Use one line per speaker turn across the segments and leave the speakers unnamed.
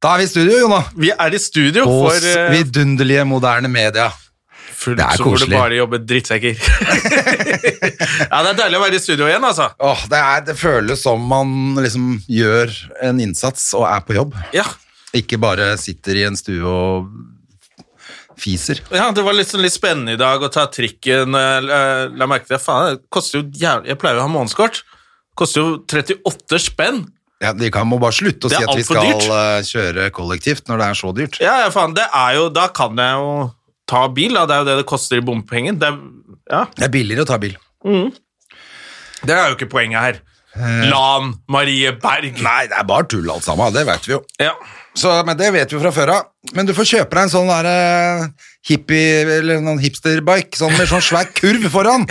Da er vi i studio, Jonna.
Vi er i studio
På
for eh,
vidunderlige moderne media.
fullt,
det er
så får du
koselig.
bare jobbe drittsekker. ja, det er deilig å være i studio igjen, altså.
Åh, det, er, det føles som man liksom gjør en innsats og er på jobb.
Ja,
Ikke bare sitter i en stue og fiser.
ja Det var litt, sånn litt spennende i dag å ta trikken. eh, eh, La merke til det. Faen, det koster jo jævlig Jeg pleier jo å ha månedskort. Koster jo 38 spenn.
Ja, de kan må bare slutte å
Det
si
er
at vi
alt for
skal
dyrt.
eh, kjøre kollektivt når det er så dyrt.
Ja, ja, faen, det er jo Da kan jeg jo ta bil, da. Det er jo det det koster i bompenger. Det, er- ja.
Det er billigere å ta bil.
det er jo ikke poenget her. Lan Marie Berg.
Eh. Nei, det er bare tull alt sammen, det vet vi jo.
Ja.
Så, men det vet vi jo fra før av. Men du får kjøpe deg en sånn der, eh, hippie, eller noen hipsterbike, sånn med sånn svær kurv foran.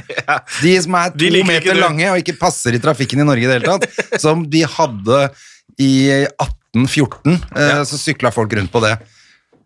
De som er to
De liker ikke
meter
du.
lange og ikke passer i trafikken i Norge i det hele tatt. Som de hadde i 1814, eh,
Ja.
så sykla folk rundt på det.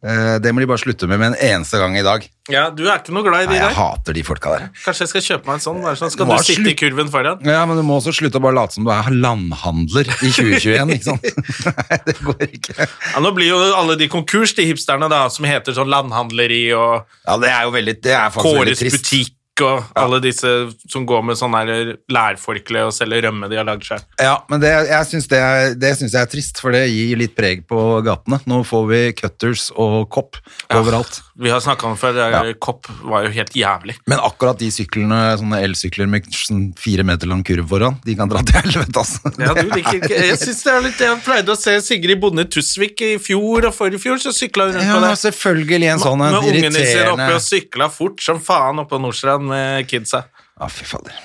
Eh, det må de bare slutte med med en eneste gang i dag.
ja, du er ikke noe glad i
Nei,
de
jeg
der.
hater de folka der.
Kanskje jeg skal kjøpe meg en sånn? Bare sånn skal
Hva
du sitte i
slutt-
kurven foran?
Ja, men du må også slutte å bare late som du er landhandler i 2021, ikke sant? Nei, det går ikke.
Ja, nå blir jo alle de konkurs, de hipsterne, da, som heter sånn landhandleri og
Ja, det er jo veldig, det er faktisk veldig
Kåres
trist.
butikk og alle disse som går med sånn der lærforkle og selger rømme de har lagd sjøl.
Ja, men det, jeg syns det, er- det synes jeg er trist, for det gir litt preg på gatene. Nå får vi cutters og kopp overalt.
Vi har snakka om det før, det der kopp var jo helt jævlig.
Men akkurat de syklene, sånne elsykler med sånn fire meter lang kurv foran, de kan dra til helvete, altså.
Ja, du liker ikke Jeg synes det er litt Jeg pleide å se Sigrid Bonde Tusvik i fjor og forrige fjor, så sykla hun rundt
Ja,
på
men
det.
selvfølgelig en sånn en
Med ungene sine oppe og
irriterende
sykla fort som faen oppe på Nordstrand med kidsa.
Ja, fy fader.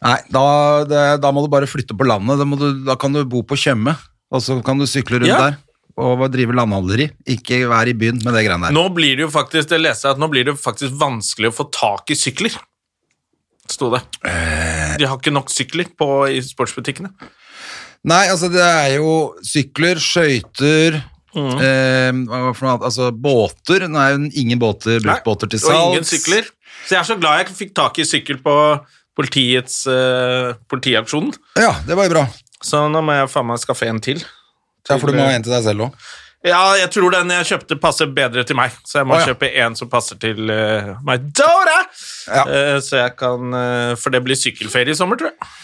Nei, da, det, da må du bare flytte på landet. Da, må du, da kan du bo på Tjøme, og så kan du sykle rundt
Ja.
der. Og drive landhandleri. Ikke være i byen med det greiene der.
Nå blir det jo faktisk Det leser jeg at nå blir det faktisk vanskelig å få tak i sykler. Sto det.
Eh.
De har ikke nok sykler på, i sportsbutikkene.
Nei, altså det er jo sykler, skøyter
Mm.
eh, hva var det for noe annet? Altså båter. Nå er jo ingen båter, bruktbåter til salgs.
Og ingen sykler. Så jeg er så glad jeg fikk tak i sykkel på politiets eh, politiaksjonen.
Ja, det var jo bra.
Så nå må jeg faen meg skaffe en til.
Ja, for du må ha en til deg selv òg.
Ja, jeg tror den jeg kjøpte, passer bedre til meg. Så jeg må
Å, ja.
kjøpe en som passer til eh, meg. Dora!
Ja.
Eh, så jeg kan eh, For det blir sykkelferie i sommer, tror jeg.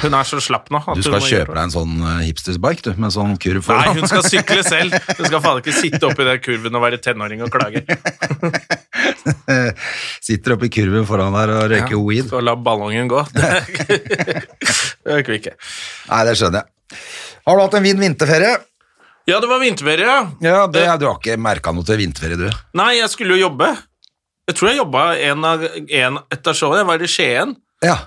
Hun er så slapp nå. at
Du
hun
skal
må
kjøpe
gjøre-
deg en sånn eh, hipstersbike, du, med sånn kurv
Nei,
foran.
hun skal sykle selv. Hun skal faen ikke sitte oppi den kurven og være tenåring og klage.
Sitter oppe i kurven foran der og røyker weed.
Så la ballongen gå. Det orker vi ikke.
Nei, det skjønner jeg. Har du hatt en fin vinterferie?
Ja, det var vinterferie, ja.
Ja, det, Du har ikke merka noe til vinterferie, du?
Nei, jeg skulle jo jobbe. Jeg tror jeg jobba en, av- en etter showet. Jeg var i Skien.
Ja.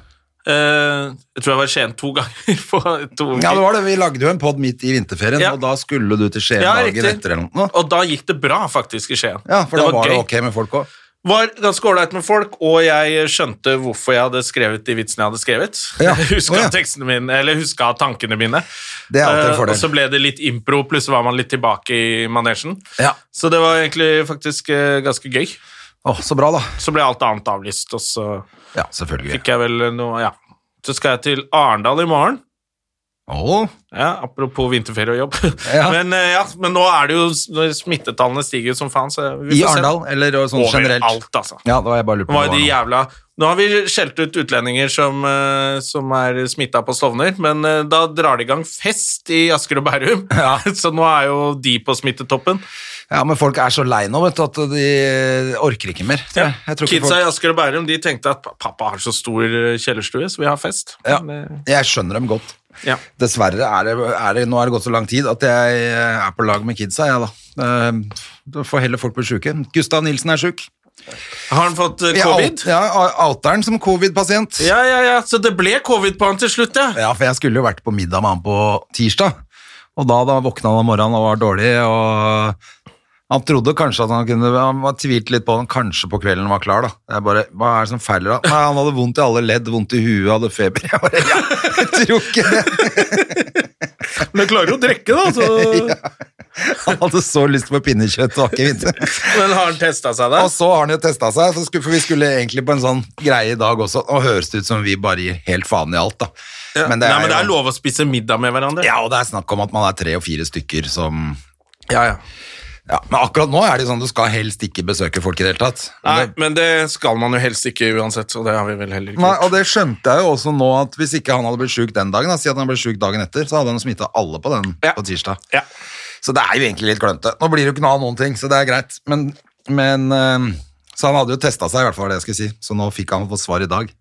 Eh, jeg tror jeg var i Skien to ganger på to uker.
ja, det var det. Vi lagde jo en pod midt i vinterferien,
Ja.
og da skulle du til Skien
Ja,
dagen
riktig.
etter eller noe.
Og da gikk det bra, faktisk, i Skien.
Ja, for da var det
gøy.
ok med folk òg.
Var ganske ålreit med folk, og jeg skjønte hvorfor jeg hadde skrevet de vitsene jeg hadde skrevet.
Ja.
Jeg huska
Å, ja.
tekstene mine, eller huska tankene mine.
Det er alltid en
Eh,
fordel.
Og så ble det litt impro, plutselig var man litt tilbake i manesjen.
Ja.
Så det var egentlig faktisk eh, ganske gøy.
Å, så bra, da.
Så ble alt annet avlyst, og så
Ja, selvfølgelig.
fikk jeg vel noe Ja. Så skal jeg til Arendal i morgen.
Å,
Ja, Apropos vinterferie og jobb.
Ja.
Men, eh, ja, men nå er det jo når smittetallene stiger jo som faen. Så vi
I
får se.
Arendal, eller sånn generelt?
Overalt, altså.
Ja, det var jeg bare lurt på.
Nå, var
om det
jo de
var noe.
jævla, nå har vi skjelt ut utlendinger som, eh, som er smitta på Stovner, men eh, da drar det i gang fest i Asker og Bærum, så nå er jo de på smittetoppen.
Ja, men folk er så lei nå, vet du, at de orker ikke mer. tror jeg. Jeg tror ikke
Kidsa i
folk...
Asker og Bærum de tenkte at "Pa- pappa har så stor eh, kjellerstue, så vi har fest.
Ja,
Men,
jeg skjønner dem godt.
eh, ja.
Dessverre er det, er det Nå er det gått så lang tid at jeg eh, er på lag med kidsa, jeg, da. Eh, Da får heller folk bli sjuke. Gustav Nilsen er sjuk.
Har han fått eh,
Jeg
covid?
out- Ja, outeren som covid-pasient.
Ja, ja, ja, så det ble covid på han til slutt, ja.
Ja, for jeg skulle jo vært på middag med han på tirsdag. Og da, da våkna han om morgenen og var dårlig, og han trodde kanskje at han kunne Han var tvilt litt på om han kanskje på kvelden var klar, da. Jeg bare, Hva er det som feiler da? Nei, han hadde vondt i alle ledd, vondt i huet, hadde feber. Jeg bare, ja, jeg tror ikke det.
Men du klarer jo å drikke, da. Så.
Han hadde så lyst på pinnekjøtt og akevitt.
Men har han testa seg
Og
der?
så har han jo testa seg, så skulle, for vi skulle egentlig på en sånn greie i dag også. Og høres det ut som vi bare gir helt faen i alt, da.
Nei, men det er lov å spise middag med hverandre.
Ja, og det er snakk om at man er tre og fire stykker som
ja, ja.
ja, Men akkurat nå er det jo sånn du skal helst ikke besøke folk i det hele tatt. Men
Nei,
det-
men det skal man jo helst ikke uansett, så det har vi vel heller ikke.
Nei,
gjort.
og det skjønte jeg jo også nå at hvis ikke han hadde blitt sjuk den dagen, da, si at han ble sjuk dagen etter, så hadde han smitta alle på den
Ja.
på tirsdag.
Ja.
Så det er jo egentlig litt klønete. Nå blir det jo ikke noe av noen ting, så det er greit. Men, men eh, Så han hadde jo testa seg, i hvert fall, var det jeg skulle si. Så nå fikk han fått svar i dag.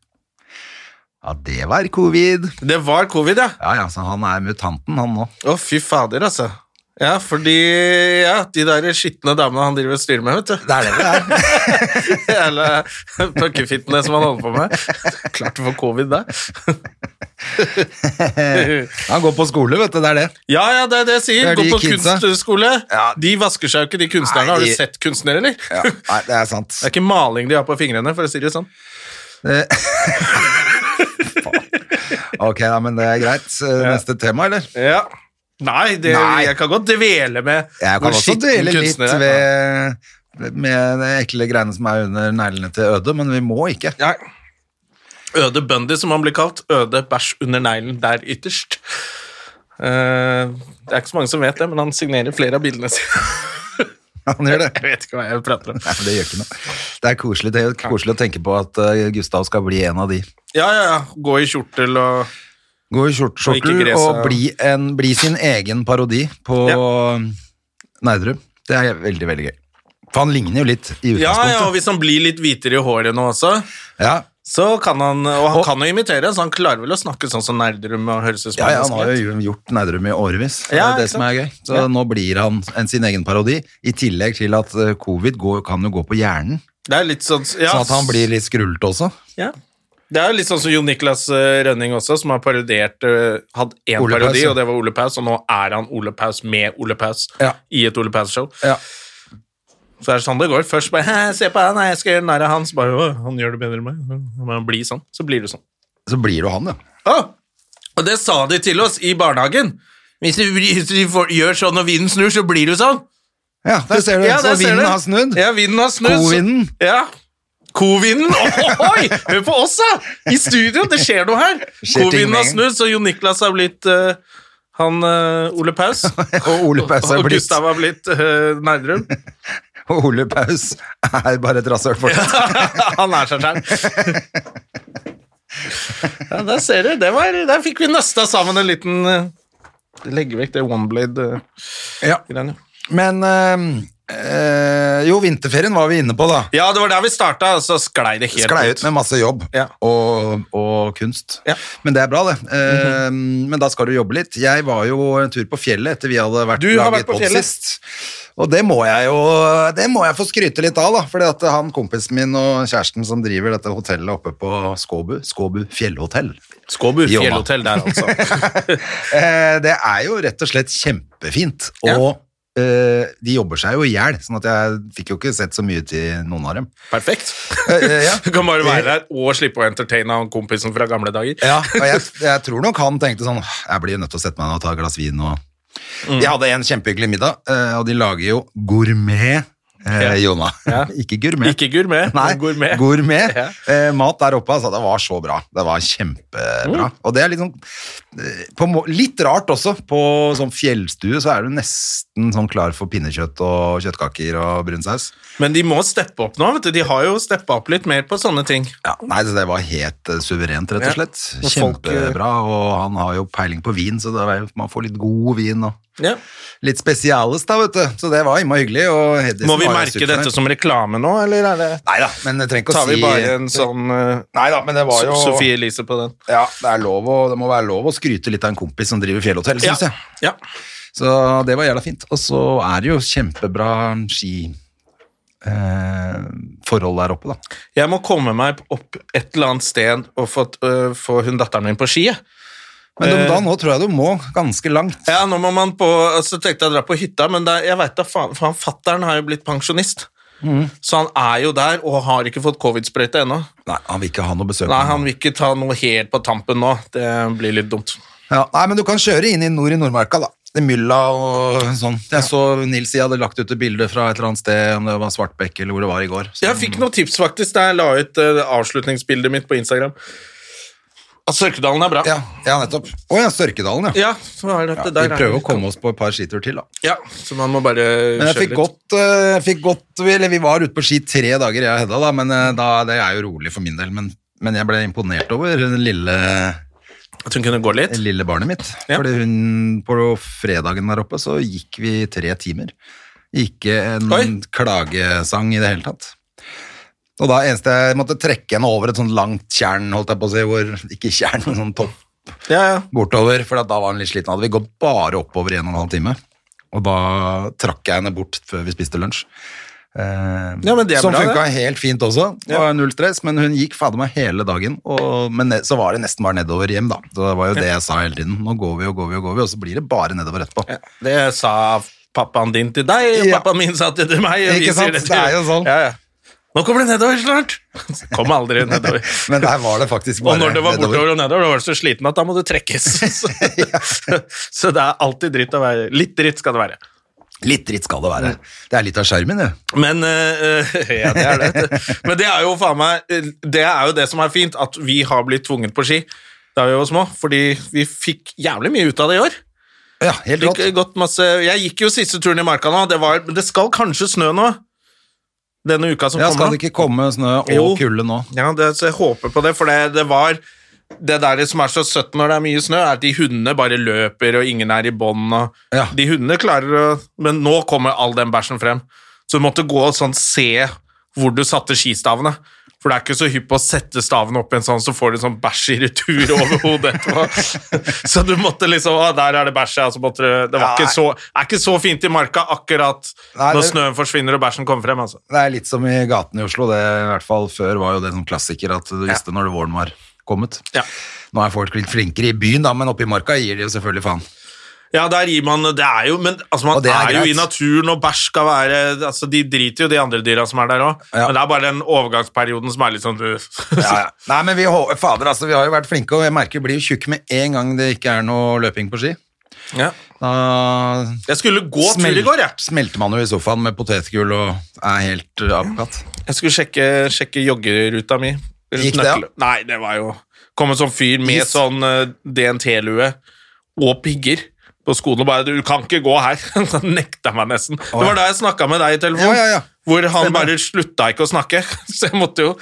Ja, det var covid.
Det var covid, ja.
Ja, ja, så han er mutanten, han nå.
Å, fy fader, altså. Ja, fordi ja, de der skitne damene han driver og styrer med, vet du.
Det er det det er.
Hele puckefittene som han holder på med. Klart du får covid da.
Han går på skole, vet du. Det er det.
Ja, ja, det er det jeg sier.
Det er
Gå
de
på
kidsa.
kunstskole.
Ja.
De vasker seg jo ikke, de kunstnerne.
Nei,
Har du
de-
sett kunstnere, eller?
Nei, det er sant.
Det er ikke maling de har på fingrene, for å si det sånn.
Eh, Ok, ja, men det er greit. Eh, Neste tema, eller?
Ja. Nei, det,
Nei.
jeg kan godt dvele med
Jeg
hvor
kan også
skitten
dvele litt
kunstner er.
ved, med de ekle greiene som er under neglene til Øde, men vi må ikke.
Nei. Øde Bundy, som han blir kalt. Øde bæsj under neglen der ytterst. Eh, det er ikke så mange som vet det, men han signerer flere av bildene sine.
Han gjør det.
Jeg vet ikke hva jeg prater om.
Nei, men det gjør ikke noe. Det er koselig, det er koselig å tenke på at eh, Gustav skal bli en av de.
Ja, ja, ja. Gå i kjortel og
Gå i
Og ikke
skjorteskjortel
grese.
og bli, en, bli sin egen parodi på Nerdrum. Det er veldig, veldig gøy. For han ligner jo litt i
Ja, ja, og
utgangspunktet.
hvis han blir litt hvitere i håret nå også,
Ja,
så kan han Og han
Og-
kan jo imitere, så han klarer vel å snakke sånn som Nerdrum og høres ut som
ja, ja,
han
han har jo gjort Nerdrum i årevis. Det
Ja,
er det
ikke
som er gøy. Så nå blir han en sin egen parodi, i tillegg til at eh, covid går, kan jo gå på hjernen.
Det er litt sånn ja,
Sånn at han blir litt skrullete også.
ja. Det er jo litt sånn som Jon Niklas eh, Rønning også, som har parodiert eh, Hadde én
Ole Paus,
parodi,
ja.
og det var Ole Paus, og nå er han Ole Paus med Ole Paus
Ja.
i et Ole Paus-show.
Ja.
Så det er sånn det går. Først bare «Hæ, 'Se på han, jeg skal gjøre narr av han.' Så bare «Å, 'Han gjør det bedre enn meg.' Men han blir sånn. Så blir du sånn.
Så blir du han, ja.
Å! Og det sa de til oss i barnehagen. Hvis du, hvis du får, gjør sånn og vinden snur, så blir du sånn.
Ja, der ser du.
Ja,
så
der ser
vinden
du.
har snudd.
Ja, vinden har snudd. så-
Kovinden.
Ja. Kovinden! Ohoi! Hør på oss, da! I studio, det skjer noe her.
skjer ting
Kovinden har
med en
snudd, så Jon Niklas har blitt eh, han eh, Ole Paus.
Og Ole Paus er
Og
blitt
Gustav har blitt uh, Nerdrum.
Og Ole Paus er bare et rasshøl for det.
han er seg sjæl. Ja, der ser du. Det var, der fikk vi nøsta sammen en liten eh, Legge vekk det oneblade-greiene.
Ja. Men eh, eh, Jo, vinterferien var vi inne på, da.
Ja, det var der vi starta, og så sklei det helt
Sklei ut med masse jobb
Ja.
og, og kunst.
Ja. Mhm.
Men det er bra, det. Eh, Men da skal du jobbe litt. Jeg var jo en tur på fjellet etter vi hadde vært
Du har vært på
podd
fjellet.
sist. Og det må jeg jo Det må jeg få skryte litt av, da. Fordi at han kompisen min og kjæresten som driver dette hotellet oppe på Skåbu, Skåbu fjellhotell
Skåbu
Jomma.
fjellhotell der, altså.
Eh, det er jo rett og slett kjempefint. Og eh, de jobber seg jo i hjel, sånn at jeg fikk jo ikke sett så mye til noen av dem.
Perfekt.
Eh, eh, ja.
Du kan bare være der og slippe å entertaine han kompisen fra gamle dager.
Ja, og jeg, jeg tror nok han tenkte sånn Jeg blir jo nødt til å sette meg ned og ta et glass vin og
Mm.
De hadde en kjempehyggelig middag, eh, og de lager jo gourmet, eh,
Ja.
Jona.
Ja.
ikke gourmet.
Ikke gourmet,
Nei,
men gourmet. Ja.
Eh, mat der oppe, altså. Det var så bra. Det var
Mm.
kjempebra. Og det er liksom eh, på, må- Litt rart også. På sånn fjellstue så er du nesten sånn klar for pinnekjøtt og kjøttkaker og brun saus.
Men de må steppe opp nå. vet du. De har jo steppa opp litt mer på sånne ting.
Ja, nei, så det var helt eh, suverent, rett og
Ja.
slett.
Og folk, eh,
Kjempebra. Og han har jo peiling på vin, så det er, jo- man får litt god vin og
Ja.
litt spesiales, da, vet du. Så det var innmari hyggelig. Og Hedisen
Må vi
var jo
merke
superfornøyd.
dette som reklame nå, eller er det
Neida, men jeg trenger ikke å
Tar
si
vi bare en sånn eh,
Neida, men det var jo
So- Sophie Elise på den?
Ja, det, er lov å, det må være lov å skryte litt av en kompis som driver fjellhotell, syns
ja.
jeg.
ja.
Så det var jævla fint. Og så er det jo kjempebra ski eh, forhold der oppe, da.
Jeg må komme meg opp et eller annet sted og få, øh, få hun datteren min på ski. jeg.
Men de, da nå tror jeg du må ganske langt.
Ja, nå må man på, altså tenkte jeg å dra på hytta, men det, er- jeg vet da faen, faen fatteren har jo blitt pensjonist.
Mm.
Så han er jo der og har ikke fått covid-sprøyte ennå.
Nei, han vil ikke ha noe besøk.
Nei, han vil ikke ta noe helt på tampen nå. Det blir litt dumt.
Ja, nei, men du kan kjøre inn i nord i Nordmarka, da. Det er Mylla og sånn. Jeg så Nils jeg hadde lagt ut et bilde fra et eller annet sted, om det var Svartbekk eller hvor det var i går. Så,
Jeg fikk noen tips faktisk da jeg la ut eh, avslutningsbildet mitt på Instagram. At Sørkedalen er bra.
ja, ja, nettopp. Å ja, Sørkedalen, ja.
Ja, så er det at
Ja,
det der
vi
er
prøver å
litt-
komme oss på et par skiturer til, da.
Ja, så man må bare
Men jeg
kjøre
fikk
litt.
godt, eh, fikk godt Eller vi var ute på ski tre dager, jeg og Hedda, da, men eh, da, det er jo rolig for min del. Men, men jeg ble imponert over det lille,
At hun kunne gå litt.
det lille barnet mitt.
Ja.
Fordi hun På fredagen der oppe så gikk vi tre timer. Ikke en
Oi.
klagesang i det hele tatt. Og da eneste jeg måtte trekke henne over et sånt langt tjern, holdt jeg på å si, hvor Ikke tjern, men sånn topp
Ja, ja.
bortover, for at da var han litt sliten. Hadde vi gått bare oppover i en og en halv time. Og da trakk jeg henne bort før vi spiste lunsj. Eh,
Ja, men det er
som
bra,
funka
det.
helt fint også. Det var null stress, men hun gikk fader meg hele dagen. Og, men ne- så var det nesten bare nedover hjem, da. Så det var jo det jeg sa hele tiden. Nå går vi og går vi og går vi, og så blir det bare nedover etterpå.
Ja, Det sa pappaen din til deg, og
Ja.
pappaen min sa det til meg. og vi
Ikke
sier
sant? Det er jo sånn.
Ja, ja. Nå kommer det nedover snart! Så Kom aldri nedover.
Men der var det faktisk
Og
bare
når det var
nedover.
bortover og nedover, da var du så sliten at da må du trekkes. Så, så det er alltid dritt å være. Litt dritt skal det være.
Litt dritt skal det være. Det er litt av skjermen, det.
Men eh, eh, ja, det er det. vet du. Men det er jo faen meg eh, Det er jo det som er fint, at vi har blitt tvunget på ski da vi var små, fordi vi fikk jævlig mye ut av det i år.
Ja, helt rått.
Fikk gått masse Jeg gikk jo siste turen i marka nå, det var Men det skal kanskje snø nå. Denne uka som
Ja,
kommer.
skal det
nå.
ikke komme snø
Jo.
og kulde nå?
Ja, det, så jeg håper på det, for det, det var det der som er så søtt når det er mye snø, er at de hundene bare løper, og ingen er i bånd. og
Ja.
De hundene klarer å Men nå kommer all den bæsjen frem. Så du måtte gå og sånn se hvor du satte skistavene. For det er ikke så hypp på å sette stavene opp i en sånn, så får du sånn bæsj i retur over hodet etterpå. så du måtte liksom Å, der er det bæsj, ja. Så måtte du Det var
Nei.
ikke så, er ikke så fint i marka akkurat
Nei,
når
det-
snøen forsvinner og bæsjen kommer frem, altså.
Det er litt som i gaten i Oslo. Det i hvert fall Før var jo det en klassiker at du visste når våren var kommet.
Ja.
Nå er folk litt flinkere i byen, da, men oppe i marka gir de jo selvfølgelig faen.
Ja, der gir man Det er jo Men altså, man
Og det
er,
er
jo
greit.
i naturen, og bæsj skal være Altså, de driter jo de andre dyra som er der òg,
Ja.
men det er bare den overgangsperioden som er litt sånn øh.
Nei, men vi, hå- fader, altså, vi har jo vært flinke, og jeg merker vi blir jo tjukke med en gang det ikke er noe løping på ski.
ja.
Da
Jeg skulle gå tur
smel-
i går, jeg.
smelter man jo i sofaen med potetgull og er helt uh, avkatt.
Jeg skulle sjekke, sjekke joggeruta mi.
Gikk det,
Nøkkel-
ja?
Nei, det var jo Kom en sånn fyr med
Is.
sånn eh, DNT-lue og pigger på skolen og bare 'Du kan ikke gå her'. Han nekta meg nesten. Det var da jeg snakka med deg i
Ja,
telefonen,
ja, ja.
hvor han
Stemmer.
bare slutta ikke å snakke. Så jeg måtte jo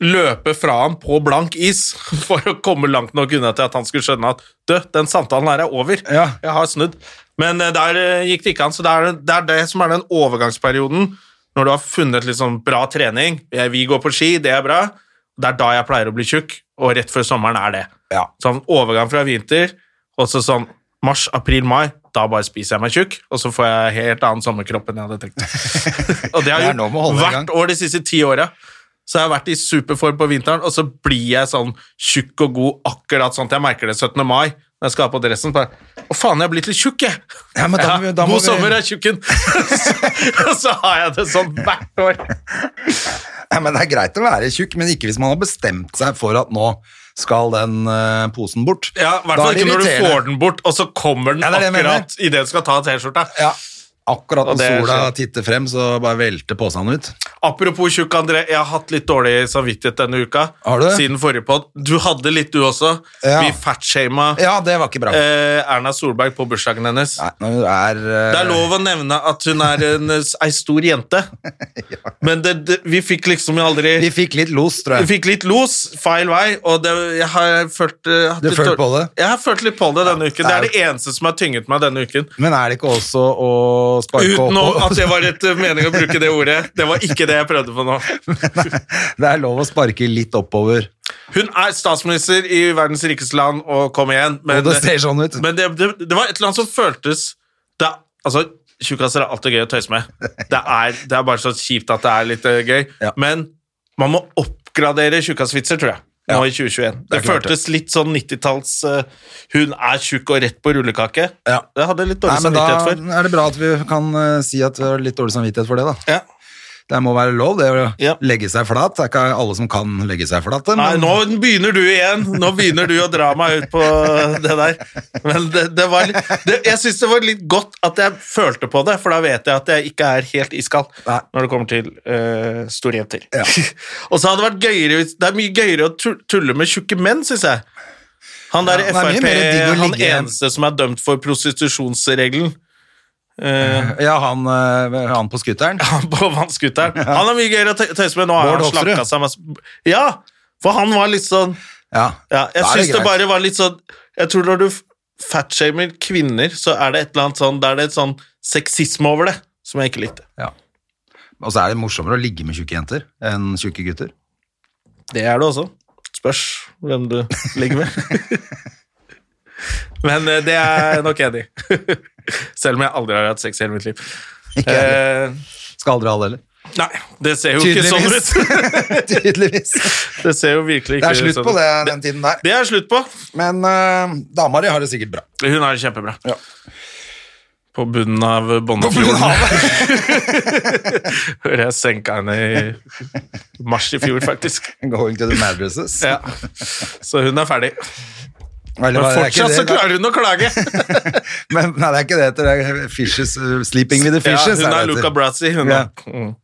løpe fra han på blank is for å komme langt nok unna til at han skulle skjønne at 'Du, den samtalen her er over'.
Ja.
Jeg har snudd. Men eh, der eh, gikk det ikke an, så det er det, er det som er den overgangsperioden. Når du har funnet litt sånn bra trening eh, Vi går på ski, det er bra. Det er da jeg pleier å bli tjukk, og rett før sommeren er det.
Ja.
Sånn overgang fra vinter, og så sånn mars, april, mai, da bare spiser jeg meg tjukk, og så får jeg helt annen sommerkropp enn jeg hadde tenkt. og det har
Det er
jeg
noe med å
gjort
holde i gang.
hvert år de siste ti åra. Så jeg har vært i superform på vinteren, og så blir jeg sånn tjukk og god akkurat sånn at jeg merker det 17. mai. Når jeg skal ha på dressen, så bare Å, faen, jeg er blitt litt tjukk, jeg!
Ja, men da må vi- da må
god
vi-
sommer, jeg er tjukken! så, så har jeg det sånn hvert år.
Nei, men Det er greit å være tjukk, men ikke hvis man har bestemt seg for at nå skal den eh, posen bort.
Ja, I hvert
Da er
fall
det
ikke når du
irriterende.
får den bort, og så kommer den
Ja, det er det jeg
akkurat idet du skal ta T-skjorta.
Ja, akkurat når
Og det
sola
skjer.
titter frem, så bare velter posen ut.
Apropos tjukk, André. Jeg har hatt litt dårlig samvittighet denne uka.
Har du det?
Siden forrige podd. Du hadde litt, du også.
Ja.
Vi fatshama
Ja, det var ikke bra.
eh, Erna Solberg på bursdagen hennes.
Nei, når hun er, eh,
Det er lov å nevne at hun er en, eh, ei stor jente, men det, det, vi fikk liksom aldri
Vi fikk litt los, tror
Vi
jeg.
fikk litt los, feil vei, og det, jeg har følt eh, hatt
Du
litt
følte
dårlig-
på det?
Jeg har følt litt på det denne
det
uken. Det er
er-
det eneste som har tynget meg denne uken.
Men er det ikke også å sparke
Uten å-
oppå?
at det var et eh, mening å bruke det ordet. Det var ikke det jeg prøvde på nå.
Det er lov å sparke litt oppover.
Hun er statsminister i verdens rikeste land, og kom igjen. Men,
og det ser sånn ut.
men det, det, det var et eller annet som føltes det, er- Altså, Tjukkaser er alltid gøy å tøyse med. Det er, det er bare så kjipt at det er litt eh, gøy.
Ja.
Men man må oppgradere tjukkasvitser, tror jeg. nå i 2021. Det,
Det er klart det.
føltes litt sånn 90-talls eh, Hun er tjukk og rett på rullekake.
Ja.
Det hadde jeg litt
Nei,
dårlig
men da
samvittighet for.
er det bra at vi kan eh, si at vi har litt dårlig samvittighet for det, da.
Ja.
Det må være lov, det å
Ja.
legge seg flat. Det er ikke alle som kan legge seg flat.
Nei,
Men
nå begynner du igjen. Nå begynner du å dra meg ut på det der. Men det, det var litt, det, jeg syns det var litt godt at jeg følte på det, for da vet jeg at jeg ikke er helt iskald
Nei.
når det kommer til uh, store jenter.
Ja.
Og så hadde det vært gøyere hvis- Det er mye gøyere å tu- tulle med tjukke menn, syns jeg. Han
Ja,
der
det er mye
Frp,
mer digg å
han
ligge-
eneste som er dømt for prostitusjonsregelen. eh,
Ja, han, eh, han på skuteren.
på vannskutteren. Han er mye gøyere å tø- tøyse med. Nå har
Bård
han
Hoksrud.
slakka seg masse Ja, for han var litt sånn
Ja.
ja, jeg
Da er det
syns det
greit.
bare var litt sånn Jeg tror når du f- fatshamer kvinner, så er det et eller annet sånn Da er det et sånn sexisme over det som jeg ikke likte.
Ja. Og så er det morsommere å ligge med tjukke jenter enn tjukke gutter.
Det er det også. Spørs hvem du ligger med. Men eh, det er jeg nok enig i. Selv om jeg aldri har hatt sex i hele mitt liv.
Ikke heller.
Eh,
Skal aldri ha det heller.
nei, det ser jo ikke sånn ut.
Tydeligvis.
Det ser jo
Det
virkelig ikke
er slutt
sånn
på
ut.
det den tiden der.
Det er slutt på.
Men uh, dama di har det sikkert bra.
Hun er kjempebra.
Ja.
På bunnen av Bonnefjorden. Hører jeg senka henne i mars i fjor, faktisk.
Going to the mattresses.
Ja. Så hun er ferdig.
Eller,
Men
det er ikke
fortsatt
det,
så
da.
klarer hun å klage!
Men nei, det er ikke det etter. Det er fishes, uh, sleeping with the
Ja,
fishes.
hun
det
er
etter.
Luca Brazzi, hun
Ja.
er. Mm.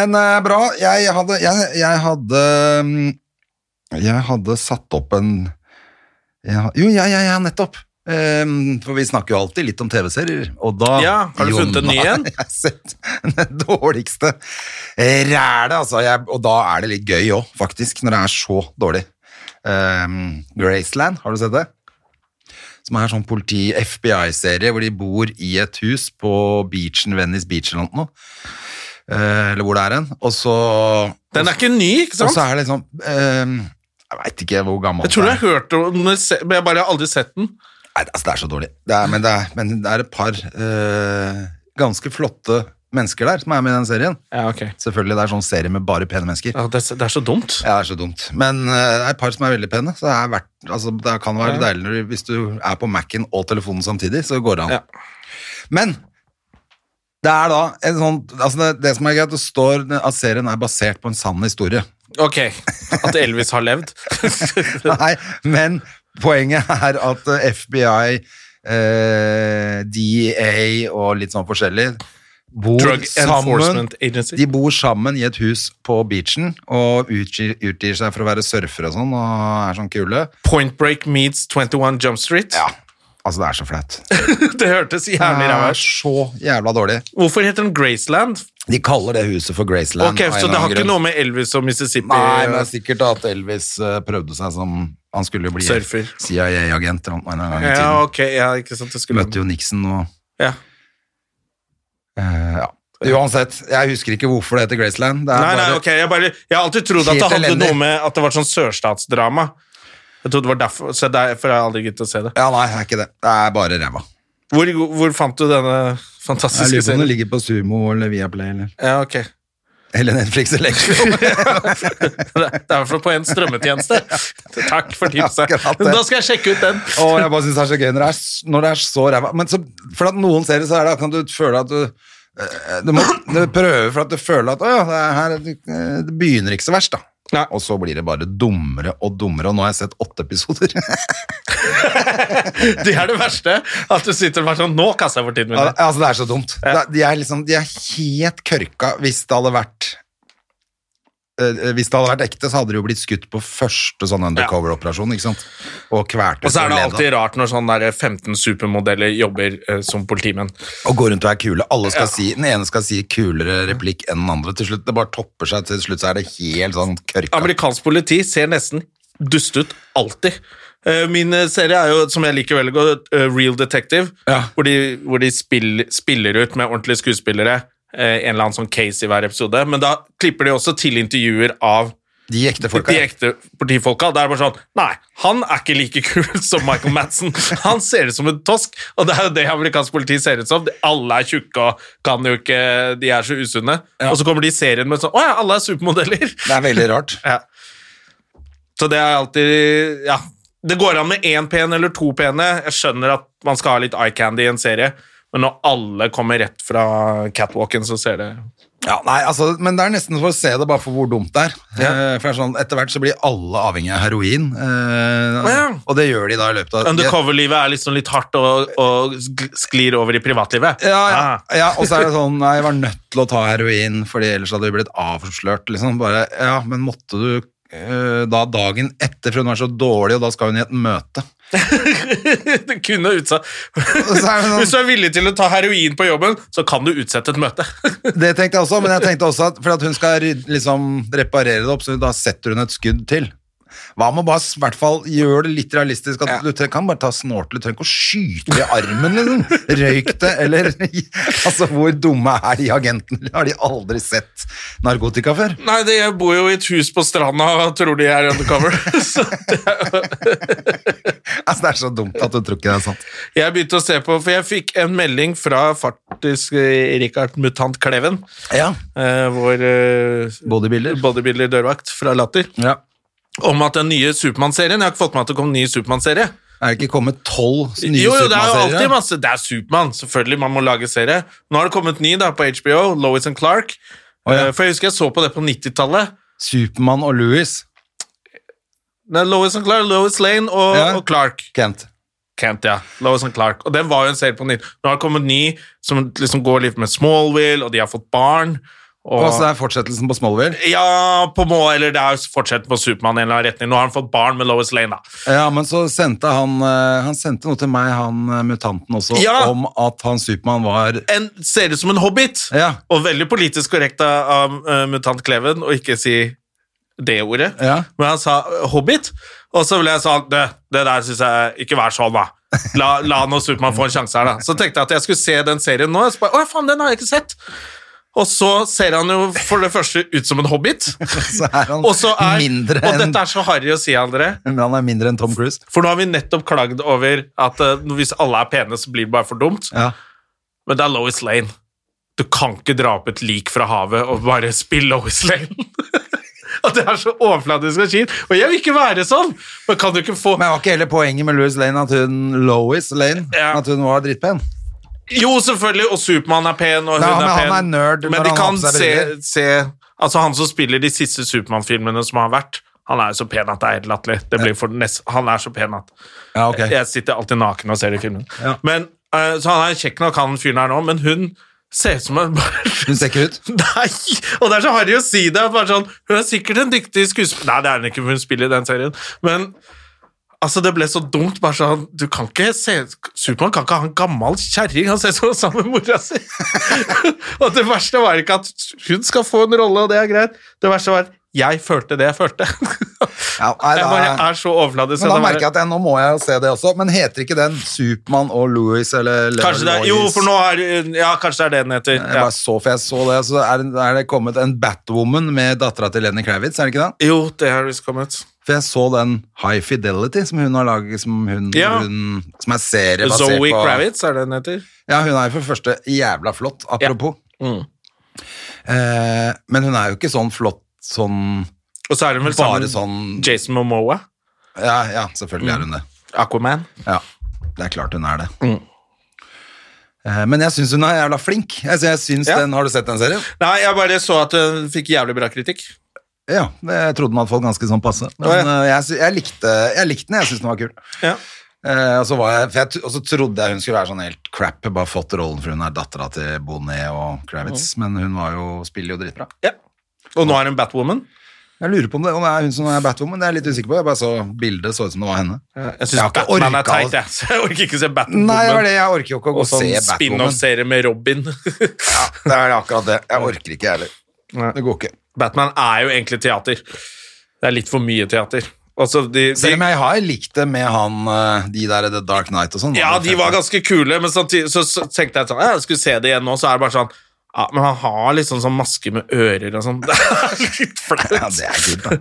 Men eh, bra, jeg hadde jeg, jeg hadde mm, Jeg hadde satt opp en jeg, ha- Jo, ja, ja, ja, nettopp. Ehm, for vi snakker jo alltid litt om TV-serier, og da
Ja, har du
Jonna,
funnet en ny en?
Jeg har sett den dårligste rælet, altså. Jeg, og da er det litt gøy òg, faktisk, når det er så dårlig. Ehm, Graceland, har du sett det? Som er sånn politi-FBI-serie hvor de bor i et hus på beachen, Venice Beach eller noe. Eh, eller hvor det er en. Og så
Den er ikke ny, ikke
Og så
sant?
er det liksom ehm, Jeg veit ikke hvor gammel
Jeg tror
den
jeg har hørt om den, se- men jeg bare har aldri sett den.
Nei, altså, det er så dårlig. Det er, men, det er, men det er et par eh, ganske flotte mennesker der som er med i den serien.
Ja, ok.
Selvfølgelig, det er sånn serie med bare pene mennesker. Ja.
Ja, det, er, så- det er så dumt.
Det er så dumt. Men eh, det er et par som er veldig pene. Så det, er verdt, altså, det kan være deilig når du- hvis du er på Mac-en og telefonen samtidig, så går det an.
Ja.
Men det er da en sånn altså det, det som er greit, det står at serien er basert på en sann historie.
Ok, at Elvis har levd.
Nei, men poenget er at eh, FBI, eh, DEA og litt sånn forskjellig bor
Drug
sammen.
Enforcement Agency.
De bor sammen i et hus på beachen og utgir, utgir seg for å være surfere og sånn, og er sånn kule.
Point Break meets 21 Jump Street.
Altså, det er så flaut.
Det hørtes jævlig
Det
ræva
er
ut.
så jævla dårlig.
Hvorfor heter den Graceland?
De kaller det huset for Graceland.
Ok,
av en
Så det
eller
har
annen
ikke
grunn.
noe med Elvis og Mississippi
Nei, men det er sikkert at Elvis eh, prøvde seg som Han skulle jo bli
Surfer.
CIA-agent eller noe en gang i tiden.
Ja, ok, ja, ikke sant, det skulle
Møtte jo Nixon og
ja.
eh, ja. Uansett, jeg husker ikke hvorfor det heter Graceland. Det er
Nei, nei,
bare-
ok, jeg, bare, jeg har alltid trodd at det
Helt
hadde
elendig.
noe med at det var sånn sørstatsdrama. Jeg trodde det var derfor, så derfor har jeg aldri giddet å se det.
Ja, nei, det er ikke det. Det er bare ræva.
Hvor, hvor fant du denne
Jeg
fantastiske
lurer på om det
serien?
ligger på Sumo eller Viaplay eller,
Ja, ok.
eller Netflix eller Extra.
Det er i hvert fall på en strømmetjeneste. Takk for tipset.
Akkurat det.
Da skal jeg sjekke ut den.
Og jeg bare synes det er så gøy når det er, s- når det er så ræva. Men så, for at noen serier så er det at du føler at du eh, du må du prøve for at du føler at å ja, det, er her, eh, det begynner ikke så verst, da.
Nei.
Og så blir det bare dummere og dummere, og nå har jeg sett åtte episoder.
Det er det verste. At du sitter og bare sånn Nå kaster jeg bort tiden min.
Ja, altså, det er så dumt.
Ja.
Det- De, er liksom, de er helt kørka hvis det hadde vært eh, hvis det hadde vært ekte, så hadde de jo blitt skutt på første sånn undercover-operasjon. ikke sant? Og kvært ut
Og så er det
ledd,
alltid rart når sånn der 15 supermodeller jobber eh, som politimenn.
Og går rundt og er kule. Alle skal si, Den ene skal si kulere replikk enn den andre. Til slutt, Det bare topper seg, til slutt så er det helt sånn kørka.
Amerikansk politi ser nesten dust ut alltid. Eh, Min eh, serie er jo, som jeg liker veldig godt, eh, Real Detective,
Ja.
hvor de, hvor de spill, spiller ut med ordentlige skuespillere eh, en eller annen sånn case i hver episode, men da klipper de også til intervjuer av
De ekte folka.
de ekte politifolka. Det er bare sånn Nei, han er ikke like kul som Michael Madsen. Han ser ut som en tosk, og det er jo det amerikansk politi ser ut som. De- Alle er tjukke og kan jo ikke De er så usunne. Og så kommer de i serien med sånn Å ja, alle er supermodeller.
Det er veldig rart.
Ja. Så det er alltid Ja. Det går an med én pen eller to pene. Jeg skjønner at man skal ha litt eye candy i en serie, men når alle kommer rett fra catwalken, så ser det
Ja, nei, altså, men det er nesten for å se det bare for hvor dumt det er. Eh, for det er sånn, Etter hvert så blir alle avhengig av heroin, eh,
Ja.
og det gjør de da i løpet av
Undercover-livet er liksom litt hardt og, og sklir over i privatlivet.
Ja, ja,
Ah.
ja, og så er det sånn Nei, jeg var nødt til å ta heroin, fordi ellers hadde vi blitt avslørt, liksom. Bare, ja, men måtte du eh, da dagen etter, for hun var så dårlig, og da skal hun i et møte.
Du kunne utsatt
Og så er det sånn-
Hvis du er villig til å ta heroin på jobben, så kan du utsette et møte.
Det tenkte jeg også, men jeg tenkte også at for at hun skal ryd- liksom reparere det opp, så da setter hun et skudd til. Hva med å bare s- i hvert fall gjøre det litt realistisk? At Du tre- kan bare ta snortel, du trenger ikke å skyte i armen, liksom. Røyk det, eller Altså, hvor dumme er de agentene? Har de aldri sett narkotika før?
Nei, det, jeg bor jo i et hus på stranda og tror de er undercover. Så det,
Altså, det er så dumt at du tror ikke det er sant.
jeg begynte å se på, for jeg fikk en melding fra faktisk eh, Richard Mutant Kleven,
Ja.
eh, vår eh,
Bodybuilder.
bodybuilder-dørvakt fra Latter,
ja.
om at den nye Supermann-serien Jeg har ikke fått med at det kom en ny Supermann-serie.
Er det ikke kommet tolv nye
Jo, jo, det er jo alltid
Supermann-serier?
masse Det er Supermann, selvfølgelig. Man må lage serie. Nå har det kommet ny da, på HBO, Lois and Clark.
Å, ja.
Eh, For jeg husker jeg så på det på 90-tallet.
Supermann og Louis.
Nei, Lois and Clark, Lois Lane og,
Ja.
og Clark.
Kent.
Kent, ja. Lois and Clark. Og den var jo en serie på nytt. Nå har det kommet ny som liksom går litt med Smallville, og de har fått barn. Og,
Og så er fortsettelsen på Smallville.
ja, på må, eller det er jo fortsatt på Supermann i en eller annen retning. Nå har han fått barn med Lois Lane, da.
Ja, men så sendte han eh, Han sendte noe til meg, han eh, mutanten også,
Ja!
om at han Supermann var
En ser ut som en hobbit,
Ja.
og veldig politisk korrekt av, av eh, Mutant Kleven å ikke si det ordet.
Ja.
Men han sa eh, hobbit, og så ble jeg sånn Det, det der syns jeg Ikke vær sånn, da. La, la nå Supermann få en sjanse her, da. Så tenkte jeg at jeg skulle se den serien nå. og Så bare, Å, faen, den har jeg ikke sett. Og så ser han jo for det første ut som en hobbit.
Så er han
Og så er
mindre
Og
enn
dette er så harry å si, André,
men han er mindre enn Tom Cruise.
for nå har vi nettopp klagd over at eh, hvis alle er pene, så blir det bare for dumt.
Ja.
Men det er Lois Lane. Du kan ikke dra opp et lik fra havet og bare spille Lois Lane. og det er så overfladisk og kjipt. Og jeg vil ikke være sånn! Men kan du ikke få
Men var ikke hele poenget med Louis Lane at hun Lois Lane
Ja.
At hun var drittpen?
Jo, selvfølgelig! Og Supermann er pen, og hun
Nei,
er
men
pen.
han er nerd når
men de
han har
kan
på seg
se,
briller.
se Altså, han som spiller de siste Supermann-filmene som har vært, han er jo så pen at det er helt latterlig. Det blir for nest- Han er så pen at
Ja, ok.
Jeg sitter alltid naken og ser de filmene.
Ja.
Men, eh, så han er kjekk nok, han fyren her nå, men hun ser ut som en
Hun ser ikke ut.
Nei! Og det er så harry å si det. at Bare sånn, hun er sikkert en dyktig skuespiller Nei, det er hun ikke, for hun spiller i den serien. Men altså, det ble så dumt. Bare sånn, du kan ikke se Supermann kan ikke ha en gammel kjerring. Han ser så sammen med mora si. og det verste var ikke at hun skal få en rolle, og det er greit. Det verste var at jeg følte det jeg følte.
Ja, nei,
jeg
da-
bare er så overfladisk.
Men da
at det
merker jeg at jeg, nå må jeg jo se det også. Men heter ikke den Supermann og Louis eller
bare-
eller
Kanskje det er, jo,
Lois?
for nå er Ja, kanskje det er det den heter.
Jeg
Ja.
bare så, for jeg så det, så er, det- er det kommet en Batwoman med dattera til Lenny Kravitz, er det ikke det?
Jo, det har visst kommet.
For jeg så den High Fidelity som hun har laget, som, hun,
Ja.
hun, som er serie basert på
Zoe Kravitz er det den heter.
Ja, hun er jo for det første jævla flott, apropos.
Mm.
Eh, men hun er jo ikke sånn flott sånn
Og så er hun vel
Bare
sammen
sånn
Jason Momoa.
Ja, ja selvfølgelig er hun det.
Aquaman.
Ja, det er klart hun er det. Eh, men jeg syns hun er jævla flink. Altså, jeg synes
Ja.
den, Har du sett den serien?
Nei, jeg bare så at hun fikk jævlig bra kritikk.
Ja, jeg trodde den hadde fått ganske sånn passe. Men
Å, ja.
eh, jeg, sy- jeg, likte, jeg likte den, jeg syntes den var kul.
Ja.
Eh, og, så var jeg, for jeg, t- og så trodde jeg hun skulle være sånn helt crap, bare fått rollen for hun er dattera til Bonnet og Kravitz,
Mm.
men hun var jo, spiller jo dritbra.
Og nå er hun Batwoman.
Jeg lurer på om det, om det er hun som er Batwoman, det er jeg litt usikker på. Jeg bare så bildet, så ut som det var henne.
Jeg
Jeg
syns
har ikke
Batman er
orket,
teit, jeg. Så jeg orker ikke se Batwoman.
Nei, det var det, jeg orker jo ikke å gå
Og
og
sånn
se Batwoman.
spin-off-serie med Robin.
Det er akkurat det. Jeg orker ikke, jeg heller. Det går ikke.
Batman er jo egentlig teater. Det er litt for mye teater. Altså, de,
Selv om
de,
jeg har likt det med han, eh, de der The Dark Knight og sånn.
ja,
det
de
fett,
var
da.
ganske kule, men samtidig så, så tenkte jeg sånn «Ja, Jeg skulle se det igjen nå, så er det bare sånn ja, Men han har liksom sånn maske med ører og sånn. Det er litt flaut.
Ja, det er kult, da.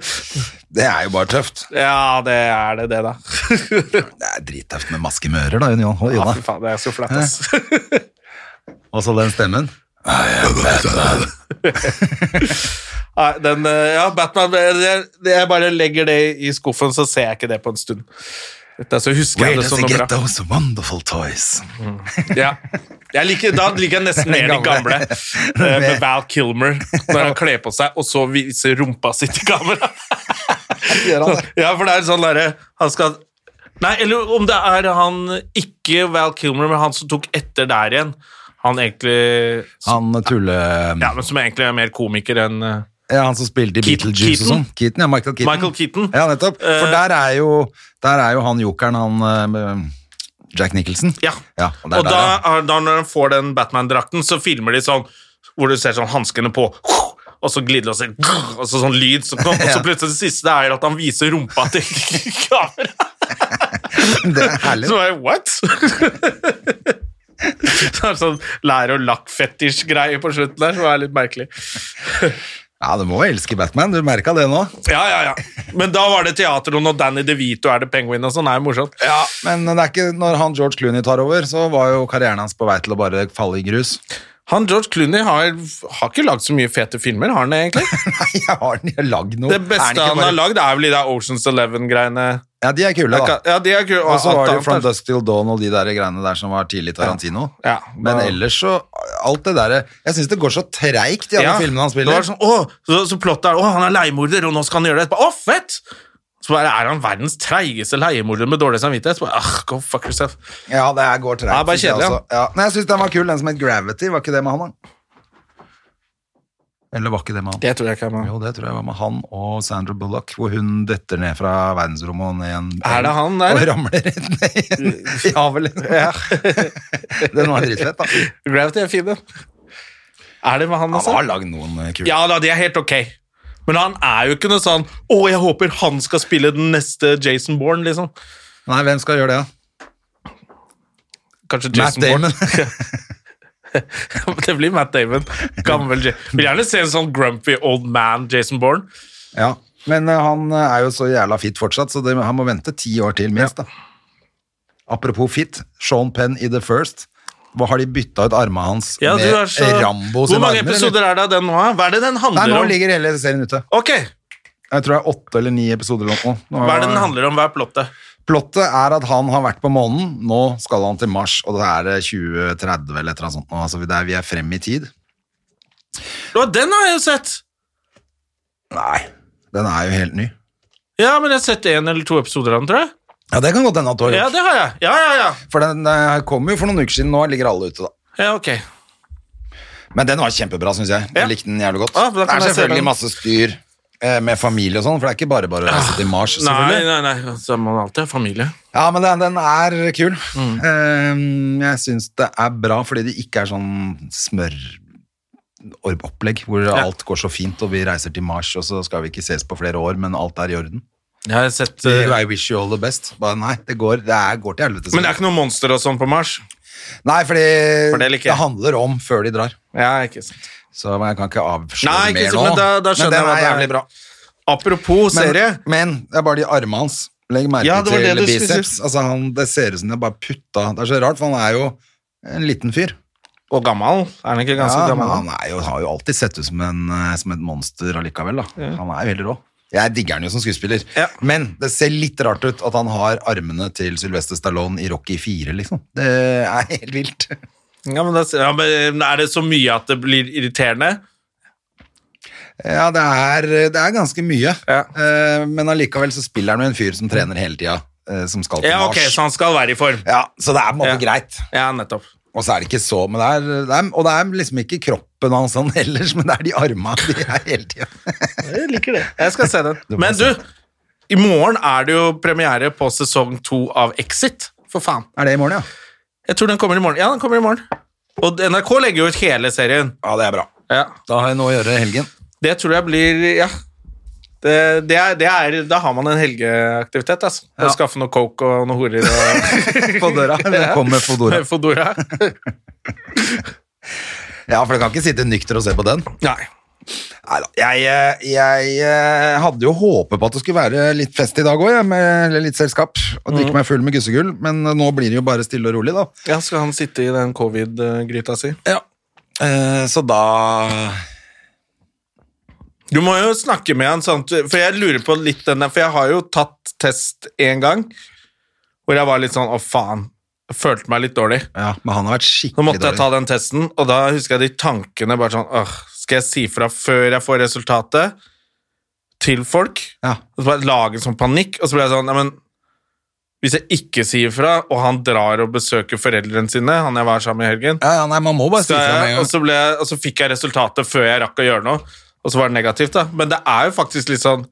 Det er jo bare tøft.
Ja, det er det, det, da.
Det er drittøft med maske med ører, da, Jon Johan.
Ah, Ja,
Jonna.
fy faen, det er så flaut, ass.
Og så den stemmen.
Nei, den, eh, ja, Batman jeg, jeg bare legger det i skuffen, så ser jeg ikke det på en stund. Dette, så husker jeg det som noe bra.
those wonderful toys?
Ja. Jeg liker, da liker jeg nesten mer de gamle, eh, med Val Kilmer, når han kler på seg, og så viser rumpa si til kamera. Ja, for det er sånn derre Han skal Nei, eller om det er han ikke Val Kilmer, men han som tok etter der igjen. Han egentlig
Han tulle...
Ja, men som egentlig er mer komiker enn eh,
Ja, han som spilte i
Keaton-
Beetlejuice og
Keaton?
sånn. Keaton, ja, Michael Keaton.
Michael Keaton.
Ja, nettopp. For
Eh.
der er jo, der er jo han jokeren, han eh, Jack Nicholson.
Ja.
Ja, og
og
det er der,
da,
ja.
er- da når han får den Batman-drakten, så filmer de sånn hvor du ser sånn hanskene på, og så glidelåser, og så sånn lyd som kom, og så plutselig det siste er at han viser rumpa til kamera.
Det er herlig.
Så er jeg, what? Så er det sånn lær- og lakkfetisj-greie på slutten der, som er litt merkelig.
Ja, du må elske Batman. Du merka det nå.
Ja, ja, ja. Men da var det teater, og når Danny DeVito er det penguin og sånn, er jo morsomt.
Men det er ikke, når han George Clooney tar over, så var jo karrieren hans på vei til å bare falle i grus.
Han George Clooney har, har ikke lagd så mye fete filmer, har han det egentlig?
Nei, jeg har den, jeg har lagd noe.
Det beste han har lagd, er vel de der Oceans Eleven-greiene.
Ja, de er kule, da.
Ja, de er kule.
Og så var det jo
Alt
From
annet er-
Dusk Till Dawn og de der greiene der som var tidlig Tarantino.
Ja.
Men ellers så Alt det derre Jeg syns det går så treigt i alle
Ja,
filmene han
det
spiller.
var Sånn, å, så, så plottet er å, han er leiemorder, og nå skal han gjøre det etterpå. Å, fett! Så bare er han verdens treigeste leiemorder med dårlig samvittighet. Så bare, ah, go fuck yourself.
Ja, det er går treigt.
Ja, bare
synes jeg
kjedelig,
også. Ja. Nei, jeg syns den var kul, den som het Gravity. Var ikke det med han, da? Eller var ikke det med han?
Det tror jeg ikke er
Jo, det tror jeg var med han og Sandra Bullock, hvor hun detter ned fra verdensrommet og ned i en
Er det han der?
Og ramler rett ned i en- i havet, liksom. den var dritfett, da.
Gravity er fin, den. Er det med han
Han
også?
har lagd noen eh, kule
Ja da, det er helt ok. Men han er jo ikke noe sånn Å, jeg håper han skal spille den neste Jason Bourne, liksom.
Nei, hvem skal gjøre det, da?
Kanskje
Matt
Jason Bourne.
Damon.
det blir Matt Damon. Gammel J Vil gjerne se en sånn grumpy old man Jason Bourne.
ja. Men eh, han eh, er jo så jævla fit fortsatt, så det, han må vente ti år til minst, da. Apropos fit, Sean Penn i The First. Hva har de bytta ut armene hans
Ja, du er
med
så...
Rambo
Hvor
sine
mange
armer? eller?
episoder er det av den nå? da? Hva er det den
Nei,
handler
nå
om?
ligger hele serien ute.
Ok,
Jeg tror det er åtte eller ni episoder eller noe. Nå
Hva er det den handler om? Hva er plottet?
Plottet er at han har vært på månen, nå skal han til Mars, og det er eh, 2030 eller et eller annet sånt. nå, Altså, vi- det er, vi er frem i tid.
Å, den har jeg jo sett!
Nei. Den er jo helt ny.
Ja, men jeg har sett en eller to episoder av den, tror jeg.
Ja, det kan godt hende at du har
Ja,
gjort.
det har jeg. Ja, ja, ja.
For den eh, kom jo for noen uker siden, nå ligger alle ute da.
Ja, ok.
Men den var kjempebra, syns jeg.
Ja.
Jeg likte den jævlig godt.
Ah, da
det
kan
er
jeg se
selvfølgelig
den.
masse styr eh, med familie og sånn, for det er ikke bare bare å reise til Mars,
Nei,
selvfølgelig.
nei, nei. Så må man alltid ha familie.
Ja, men den, den er kul.
Mm.
Eh, jeg syns det er bra fordi det ikke er sånn smør opplegg, hvor alt går så fint, og vi reiser til Mars, og så skal vi ikke ses på flere år, men alt er i orden.
Jeg har sett...
Så,
eh,
I wish you all the best. Bare, nei, det går, det er, går til helvete.
men det er ikke noe monster og sånn på Mars?
Nei, fordi
For det
det,
liker jeg.
handler om før de drar.
Ja, ikke sant.
Så jeg kan ikke avsløre
Nei, ikke
mer
sant,
nå.
men da- da skjønner
men den er
jeg hva det
jævlig
er.
bra.
Apropos
Men,
serie.
men det er bare de armene hans. Legg merke
Ja, det var det
til
du skulle
biceps. Altså, han, det ser ut som de bare putta Det er så rart, for han er jo en liten fyr.
Og gammel. Er han ikke ganske
Ja, men
gammel?
han er jo, har jo alltid sett ut som, en, eh, som et monster allikevel. Da. Han er jo veldig rå. Jeg digger han jo som skuespiller.
Ja.
Men det ser litt rart ut at han har armene til Sylvester Stallone i Rocky 4, liksom. Det er helt vilt.
Ja, men, da- ja, men eh, Er det så mye at det blir irriterende?
Ja, det er, det er ganske mye.
Ja.
Eh, Men allikevel så spiller han med en fyr som trener hele tida, eh, som skal til
Ja, ok,
Mars.
Så han skal være i form?
Ja, så det er på en måte
Ja.
greit.
Ja, nettopp.
Og så er det ikke så, men det er, det er, og det er liksom ikke kroppen hans sånn ellers, men det er de armene de er hele tida.
Jeg liker det. Jeg skal se den.
må
Men
se
du, i morgen er det jo premiere på sesong to av Exit. For faen.
Er det i morgen, ja?
Jeg tror den kommer i morgen. Ja, den kommer i morgen. Og NRK legger jo ut hele serien.
Ja, det er bra.
Ja,
Da har jeg noe å gjøre i helgen.
Det tror jeg blir Ja. Det, det, er, det er, da har man en helgeaktivitet. altså. Å
Ja.
skaffe noe coke og noen horer og
På døra. Eller kommer på døra.
Fodora.
Ja, for du kan ikke sitte nykter og se på den.
Nei.
Neida. Jeg, eh, jeg eh, hadde jo håpet på at det skulle være litt fest i dag òg, eller litt selskap. Og drikke meg full med gussegull, men eh, nå blir det jo bare stille og rolig, da.
Ja, skal han sitte i den covid-gryta si?
Ja. Eh, så da
Du må jo snakke med han, sånn, at- for jeg lurer på litt den der, for jeg har jo tatt test en gang, hvor jeg var litt sånn, å faen, jeg følte meg litt dårlig.
Ja, men han har vært
Så
skikkelig
måtte jeg ta
dårlig.
den testen, og da husker jeg de tankene bare sånn, åh, skal jeg si fra før jeg får resultatet til folk?
Ja.
Og så bare lage sånn panikk, og så ble jeg sånn, nei, men hvis jeg ikke sier fra, og han drar og besøker foreldrene sine, han jeg var sammen med i helgen,
Ja, ja, nei, man må bare si
så
fra med en
jeg, og,
gang.
så ble, jeg- og så fikk jeg resultatet før jeg rakk å gjøre noe, og så var det negativt. da. Men det er jo faktisk litt sånn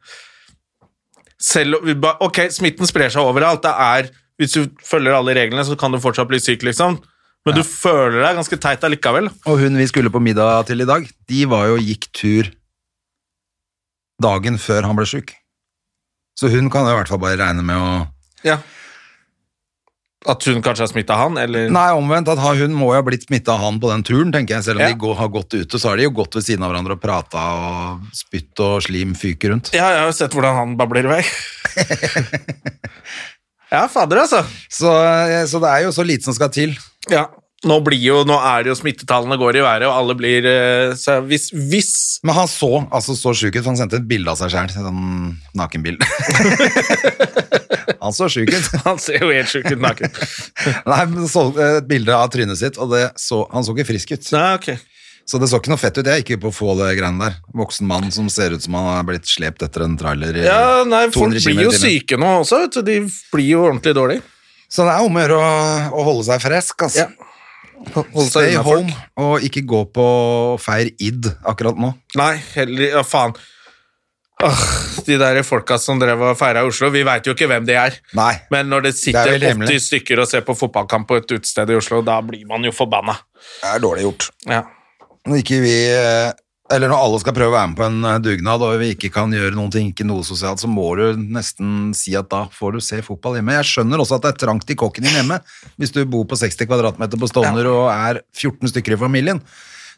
selv, om vi ba, Ok, smitten sprer seg overalt. Det er, hvis du følger alle reglene, så kan du fortsatt bli syk, liksom. Men du føler deg ganske teit allikevel.
Og hun vi skulle på middag til i dag, de var jo gikk tur dagen før han ble syk. Så hun kan jo i hvert fall bare regne med å
Ja. At hun kanskje har smitta han, eller
Nei, omvendt, at ha- hun må jo ha blitt smitta av han på den turen, tenker jeg. Selv om
Ja.
de går, har gått ute, så har de jo gått ved siden av hverandre og prata, og spytt og slim fyker rundt.
Ja, jeg har jo sett hvordan han babler i vei. ja, fader, altså.
Så, eh, så det er jo så lite som skal til.
Ja. Nå, blir jo, nå er det jo smittetallene går i været, og alle blir eh, så hvis, hvis
Men han så altså så sjuk ut, for han sendte et bilde av seg sjæl. Sånn nakenbilde. han så sjuk ut.
Han ser jo helt sjuk ut naken.
Nei, men så eh, et bilde av trynet sitt, og det så, han så ikke frisk ut.
Nei, ok.
Så det så ikke noe fett ut. Jeg gikk jo på å få det greiene der. Voksen mann som ser ut som han har blitt slept etter en trailer. i
Ja, nei,
200
folk
kilometer
blir jo
i timen.
syke nå også, vet du. De blir jo ordentlig dårlige.
Så det er om å gjøre å, å holde seg frisk, altså.
Ja. Holde seg
Stay
unna folk.
home, og ikke gå på feir id akkurat nå.
Nei, heller Ja, faen. Åh, de der folka som drev og feira i Oslo, vi veit jo ikke hvem de er.
Nei.
Men når det
Det
sitter
er veldig
80
hemmelig.
stykker og ser på fotballkamp på et utested i Oslo, da blir man jo forbanna.
Det er dårlig gjort.
Ja.
Når ikke vi eh, Eller når alle skal prøve å være med på en eh, dugnad, og vi ikke kan gjøre noen ting, ikke noe sosialt, så må du nesten si at da får du se fotball hjemme. Jeg skjønner også at det er trangt i kokken din hjemme. Hvis du bor på 60 kvadratmeter på Stovner og er 14 stykker i familien,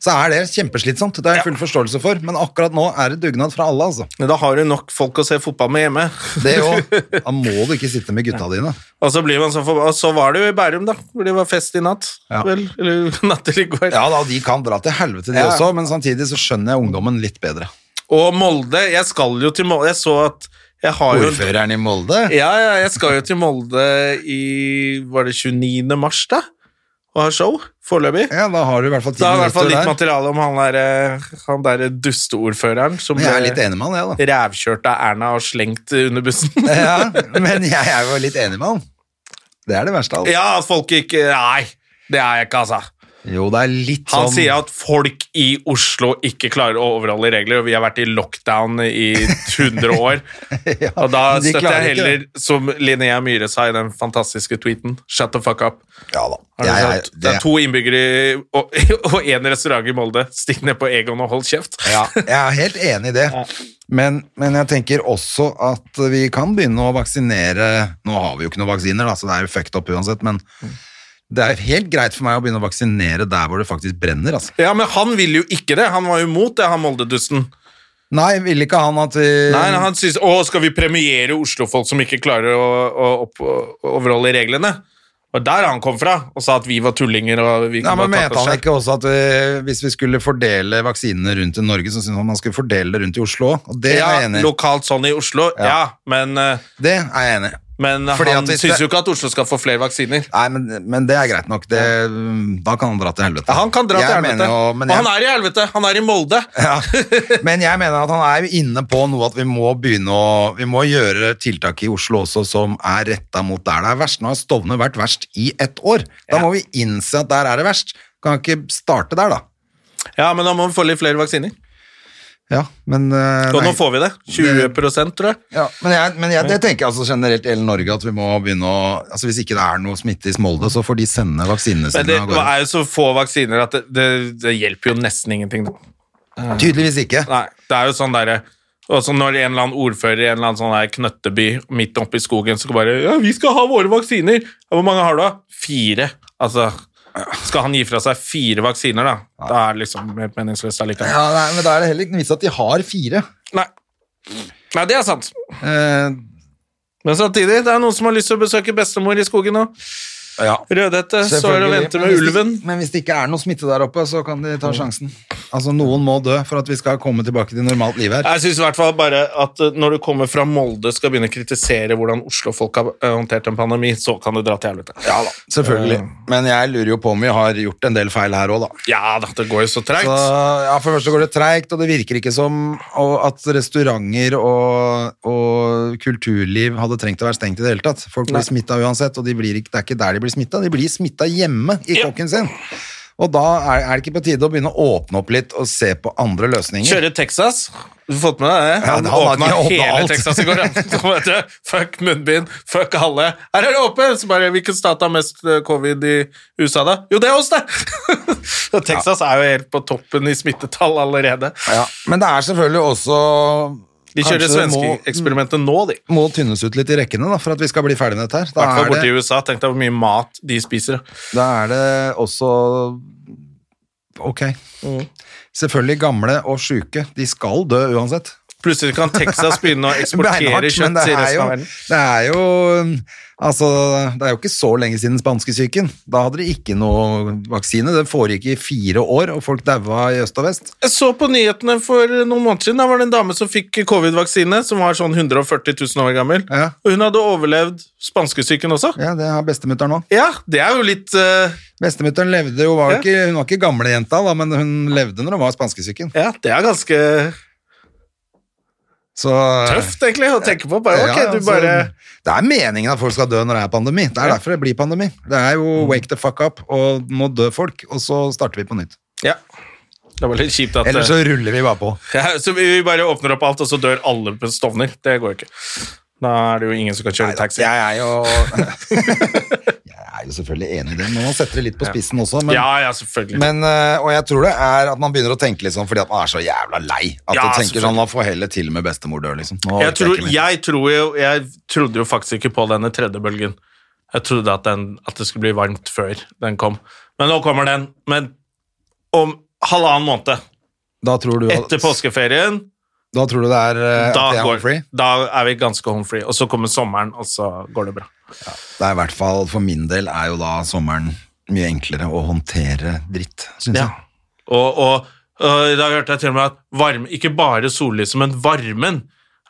så er det kjempeslitsomt. Det har jeg full forståelse for, men akkurat nå er det dugnad fra alle, altså.
Men da har du nok folk å se fotball med hjemme.
Det òg. Da må du ikke sitte med gutta dine.
Og så blir man så forbanna. Og så var det jo i Bærum, da, hvor det var fest i natt.
Ja.
Vel, eller natt til i går.
Ja da, de kan dra til helvete, de
Ja.
også, men samtidig så skjønner jeg ungdommen litt bedre.
Og Molde. Jeg skal jo til Molde. Jeg så at jeg har jo
Ordføreren i Molde?
Ja, ja, jeg skal jo til Molde i Var det 29. mars, da? Og har show, foreløpig.
Ja, da har du i hvert fall ti
Da har jeg i hvert fall
minutter
litt
der.
materiale om han der, eh, han der dusteordføreren som
Men jeg er
ble
litt enig med han, jeg, da.
rævkjørt av Erna og slengt under bussen.
Ja, men jeg er jo litt enig med han. Det er det verste av alt.
ja, at folk ikke Nei, det er jeg ikke, altså.
Jo, det er litt
Han
sånn
sier at folk i Oslo ikke klarer å overholde regler, og vi har vært i lockdown i 100 år.
Ja,
Og da
de
støtter
klarer
jeg
ikke
heller,
det.
som Linnea Myhre sa i den fantastiske tweeten, shut the fuck up.
Ja da.
Har du
Jeg er,
sett? det er to innbyggere i- og- og én restaurant i Molde. Stikk ned på Egon og hold kjeft.
ja, jeg er helt enig i det. Men, men jeg tenker også at vi kan begynne å vaksinere Nå har vi jo ikke noen vaksiner, da, så det er jo fucked up uansett, men
Mm.
det er helt greit for meg å begynne å vaksinere der hvor det faktisk brenner. altså.
Ja, men han ville jo ikke det. Han var jo imot det, han Molde-dusten.
Nei, vil ikke han at vi
Nei, nei, han synes, Å, skal vi premiere Oslo-folk som ikke klarer å, å, opp, å overholde reglene? Og der han kom fra, og sa at vi var tullinger og vi
Ja,
kunne
men
bare
Mente
tatt oss
han
selv.
ikke også at eh, hvis vi skulle fordele vaksinene rundt i Norge, så syntes han man skulle fordele det rundt i Oslo? Og det er jeg
Ja,
enig i.
lokalt sånn i Oslo, ja, men, eh,
Det er jeg enig i.
men
Fordi
han
at hvis
syns
det-
jo ikke at Oslo skal få flere vaksiner.
Nei, men, men det er greit nok. Det, da kan han dra til helvete.
Ja, han kan dra
jeg
til helvete.
Mener jo, men,
Og
jeg,
han er i helvete! Han er i Molde!
ja. men jeg mener at han er jo inne på noe at vi må begynne å Vi må gjøre tiltak i Oslo også som er retta mot der det er verst. Nå har Stovner vært verst i ett år. Da må vi innse at der er det verst. Kan ikke starte der, da.
Ja, men da må vi få litt flere vaksiner.
Ja, men eh,
Og
nei.
nå får vi det. 20 tror jeg.
Ja, men jeg, men jeg, det tenker jeg altså generelt i hele Norge, at vi må begynne å altså Hvis ikke det er noe smitte i Smolde, så får de sende vaksinene
Men
sine
det
av gårde.
er jo så få vaksiner at det, det, det hjelper jo nesten ingenting. Da.
Tydeligvis ikke.
Nei, det er jo sånn derre og så når en eller annen ordfører i en eller annen sånn her knøtteby midt oppe i skogen så bare Ja, vi skal ha våre vaksiner! Ja, Hvor mange har du, da? Fire. Altså Skal han gi fra seg fire vaksiner, da? Da er det liksom helt meningsløst allikevel.
Ja, nei, men da er det heller ikke noe vits at de har fire.
Nei. Nei, det er sant.
Eh,
Men samtidig, det er noen som har lyst til å besøke bestemor i skogen nå.
Ja.
Rødhette står
Selvfølgelig.
og venter
Men
med
hvis det-
ulven. Mm.
Men hvis det ikke er noe smitte der oppe, så kan de ta sjansen. Altså, noen må dø for at vi skal komme tilbake til normalt liv her.
Jeg syns i hvert fall bare at eh, når du kommer fra Molde skal begynne å kritisere hvordan Oslo-folk har eh, håndtert en pandemi, så kan det dra til helvete. Ja da.
Selvfølgelig.
Eh.
Men jeg lurer jo på om vi har gjort en del feil her òg, da.
det går jo så
Så,
treigt.
ja, for det første går det treigt, og det virker ikke som og at restauranter og, og kulturliv hadde trengt å være stengt i det hele tatt. Folk blir smitta uansett, og de blir ikke, det er ikke der de blir smitta, de blir smitta hjemme i
Ja.
kokken sin. Og da er, er det ikke på tide å begynne å åpne opp litt og se på andre løsninger.
Kjøre Texas. Du har fått med deg det?
Ja,
Han
han har
åpna
ikke åpnet
hele
alt.
Texas i går. ja. Så vet du, Fuck munnbind, fuck alle. Her er det åpent! Så bare, Hvilken stat har mest eh, covid i USA, da? Jo, det er oss, det! Så Texas er jo helt på toppen i smittetall allerede.
Ja, men det er selvfølgelig også
De kjører
Kanskje det må- mm.
svenskeeksperimentet nå, de.
må tynnes ut litt i rekkene da, for at vi skal bli ferdig med dette her.
I
Da
hvert fall
er,
borte i
det,
USA. Tenk deg hvor mye mat de spiser.
da er det også Ok.
Mm.
Selvfølgelig gamle og sjuke. De skal dø uansett.
Plutselig kan Texas begynne å eksportere
Beinhardt, men
kjøtt
det
til
er,
resten
jo,
av verden.
det er jo Altså, det er jo ikke så lenge siden spanskesyken. Da hadde de ikke noe vaksine. Det foregikk i fire år, og folk daua i øst og vest.
Jeg så på nyhetene for noen måneder siden. Da var det en dame som fikk covid-vaksine, som var sånn 140 000 år gammel.
Ja.
Og hun hadde overlevd spanskesyken også.
Ja, det har bestemutteren òg.
Ja, det er jo litt eh,
Bestemutteren levde jo, var jo
Ja.
ikke, hun var ikke gamlejenta, da, men hun levde når hun var spanskesyken.
Ja, det er ganske
Så,
tøft, egentlig, å tenke på. Bare,
Ja, altså- ja,
ok, du
så-
bare
Det er meningen at folk skal dø når det er pandemi. Det er derfor det blir pandemi. Det er
Mm.
jo wake the fuck up, og nå dør folk, og så starter vi på nytt.
Ja. Det var litt kjipt at
Eller
eh,
så ruller vi bare på.
ja, så vi vi bare åpner opp alt, og så dør alle på Stovner. Det går jo ikke. Da er det jo ingen som kan kjøre taxi.
Jeg er jo Jeg er jo selvfølgelig enig i det, men man setter det litt på spissen også. Men,
ja, ja, selvfølgelig.
men, eh, og jeg tror det er at man begynner å tenke litt sånn fordi at man er så jævla lei. At
Ja,
man tenker
selvfølgelig.
sånn, man får heller til og med bestemor dør, liksom. Nå
jeg,
orker jeg
tror,
ikke mer.
jeg, tror jo, jeg trodde jo faktisk ikke på denne tredje bølgen. Jeg trodde at, den, at det skulle bli varmt før den kom. Men nå kommer den. Men om halvannen måned,
da, tror du,
etter påskeferien,
da tror du det er eh,
da,
at jeg er
går,
free?
da er vi ganske home free. Og så kommer sommeren, og så går det bra.
Det er i hvert fall for min del er jo da sommeren mye enklere å håndtere dritt, syns
Ja.
jeg.
Og, og, og i dag hørte jeg til og med at varme, ikke bare sollyset, men varmen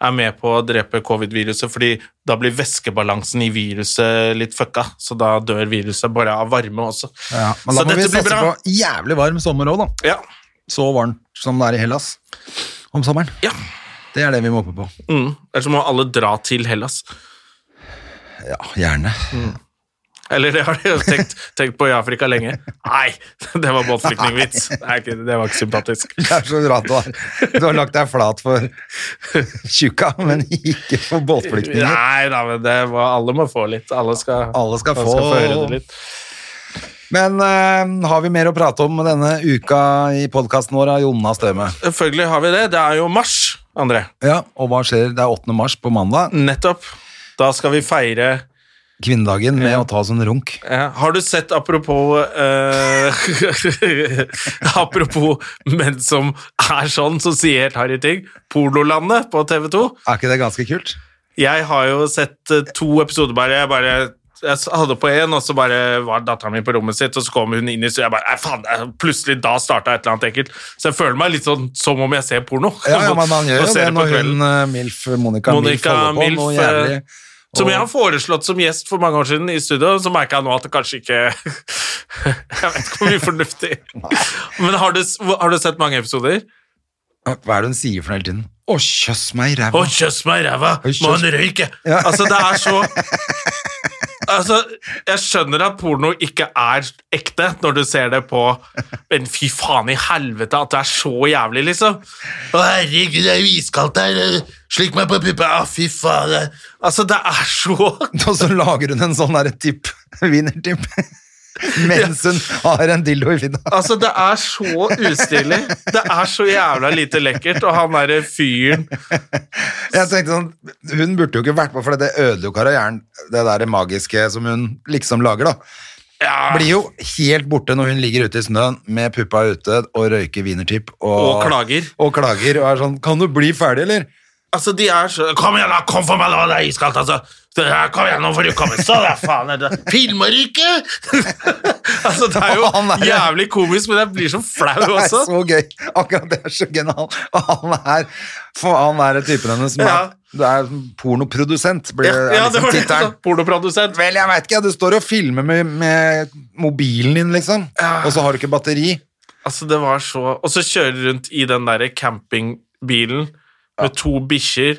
er med på å drepe covid-viruset, fordi da blir væskebalansen i viruset litt fucka, så da dør viruset bare av varme også.
Ja, men da
så
må vi
dette blir
satse
bra.
på jævlig varm sommer òg, da.
Ja.
Så varmt som det er i Hellas om sommeren.
Ja.
Det er det vi må håpe på.
Mm. Ellers må alle dra til Hellas.
Ja, gjerne.
Eller det har de jo tenkt, tenkt på i Afrika lenge. Nei, det var båtflyktningvits. Det er ikke- det var ikke sympatisk.
Det er så rart du har, du har lagt deg flat for tjukka, men ikke for båtflyktninger.
Nei da, men det var, alle må få litt. Alle skal,
Alle skal
alle skal få
få-
høre det litt.
Men eh, har vi mer å prate om denne uka i podkasten vår av Jonna Støme?
Selvfølgelig har vi det. Det er jo mars, André.
Ja, og hva skjer? Det er 8. mars på mandag.
Nettopp. Da skal vi feire
Kvinnedagen med å ta oss en runk.
Ja, Har du sett, apropos eh, Apropos menn som er sånn, som sier helt harry ting, Pololandet på TV 2.
Er ikke det ganske kult?
Jeg har jo sett eh, to episoder bare. Jeg bare jeg s- hadde på én, og så bare var datteren min på rommet sitt, og så kom hun inn i stua. Jeg bare, «Nei, faen, eh, Plutselig da starta et eller annet ekkelt. Så jeg føler meg litt sånn som om jeg ser porno.
Ja, ja, men han gjør
Og
jo
ser
det
på
når
kvelden.
hun eh, Milf, Monica,
Monica
Milf holder på noe
Milf, eh.
jævlig. Og,
Som jeg har foreslått som gjest for mange år siden i studio, så merka jeg nå at det kanskje ikke Jeg vet ikke hvor mye fornuftig Men har du, har du sett mange episoder?
Hva er det hun sier for noe hele tiden? Å, kjøss meg i
Å,
ræva!
kjøss meg i ræva! Må han røyke! Altså, det er så Altså, jeg skjønner at porno ikke er ekte når du ser det på Men fy faen i helvete at det er så jævlig, liksom. Å, herregud, det er jo iskaldt her! Slikk meg på puppa! Å, fy faen! det- Altså, det er så
Og så lager hun en sånn derre tipp, vinnertipp, mens hun har en dildo i finna.
Altså, det er så ustilig. Det er så jævla lite lekkert, og han derre fyren
Jeg tenkte sånn, Hun burde jo ikke vært på, for det ødelegger jo karrieren, det der magiske som hun liksom lager, da. Blir jo helt borte når hun ligger ute i snøen med puppa ute og røyker wienertipp og,
Og klager.
Og klager og er sånn 'Kan du bli ferdig, eller?'
Altså, de er så Kom igjen, da! Kom for meg, da! Det er iskaldt, altså! Det der, kom igjen, nå får du komme. Så da, faen. er det- Filmer du ikke? altså, det er jo
Han er-
jævlig komisk, men jeg blir så flau
Det er
også.
så gøy. Akkurat det er så genialt. Og han er, for han er typen hennes som er,
Ja.
det er pornoprodusent, blir
Ja, ja,
er
det var
liksom
det.
tittelen.
sånn, Pornoprodusent.
Vel, jeg veit ikke, du står og filmer med, med mobilen din, liksom, og så har du ikke batteri.
Altså, det var så Og så kjører hun rundt i den derre campingbilen med to bikkjer,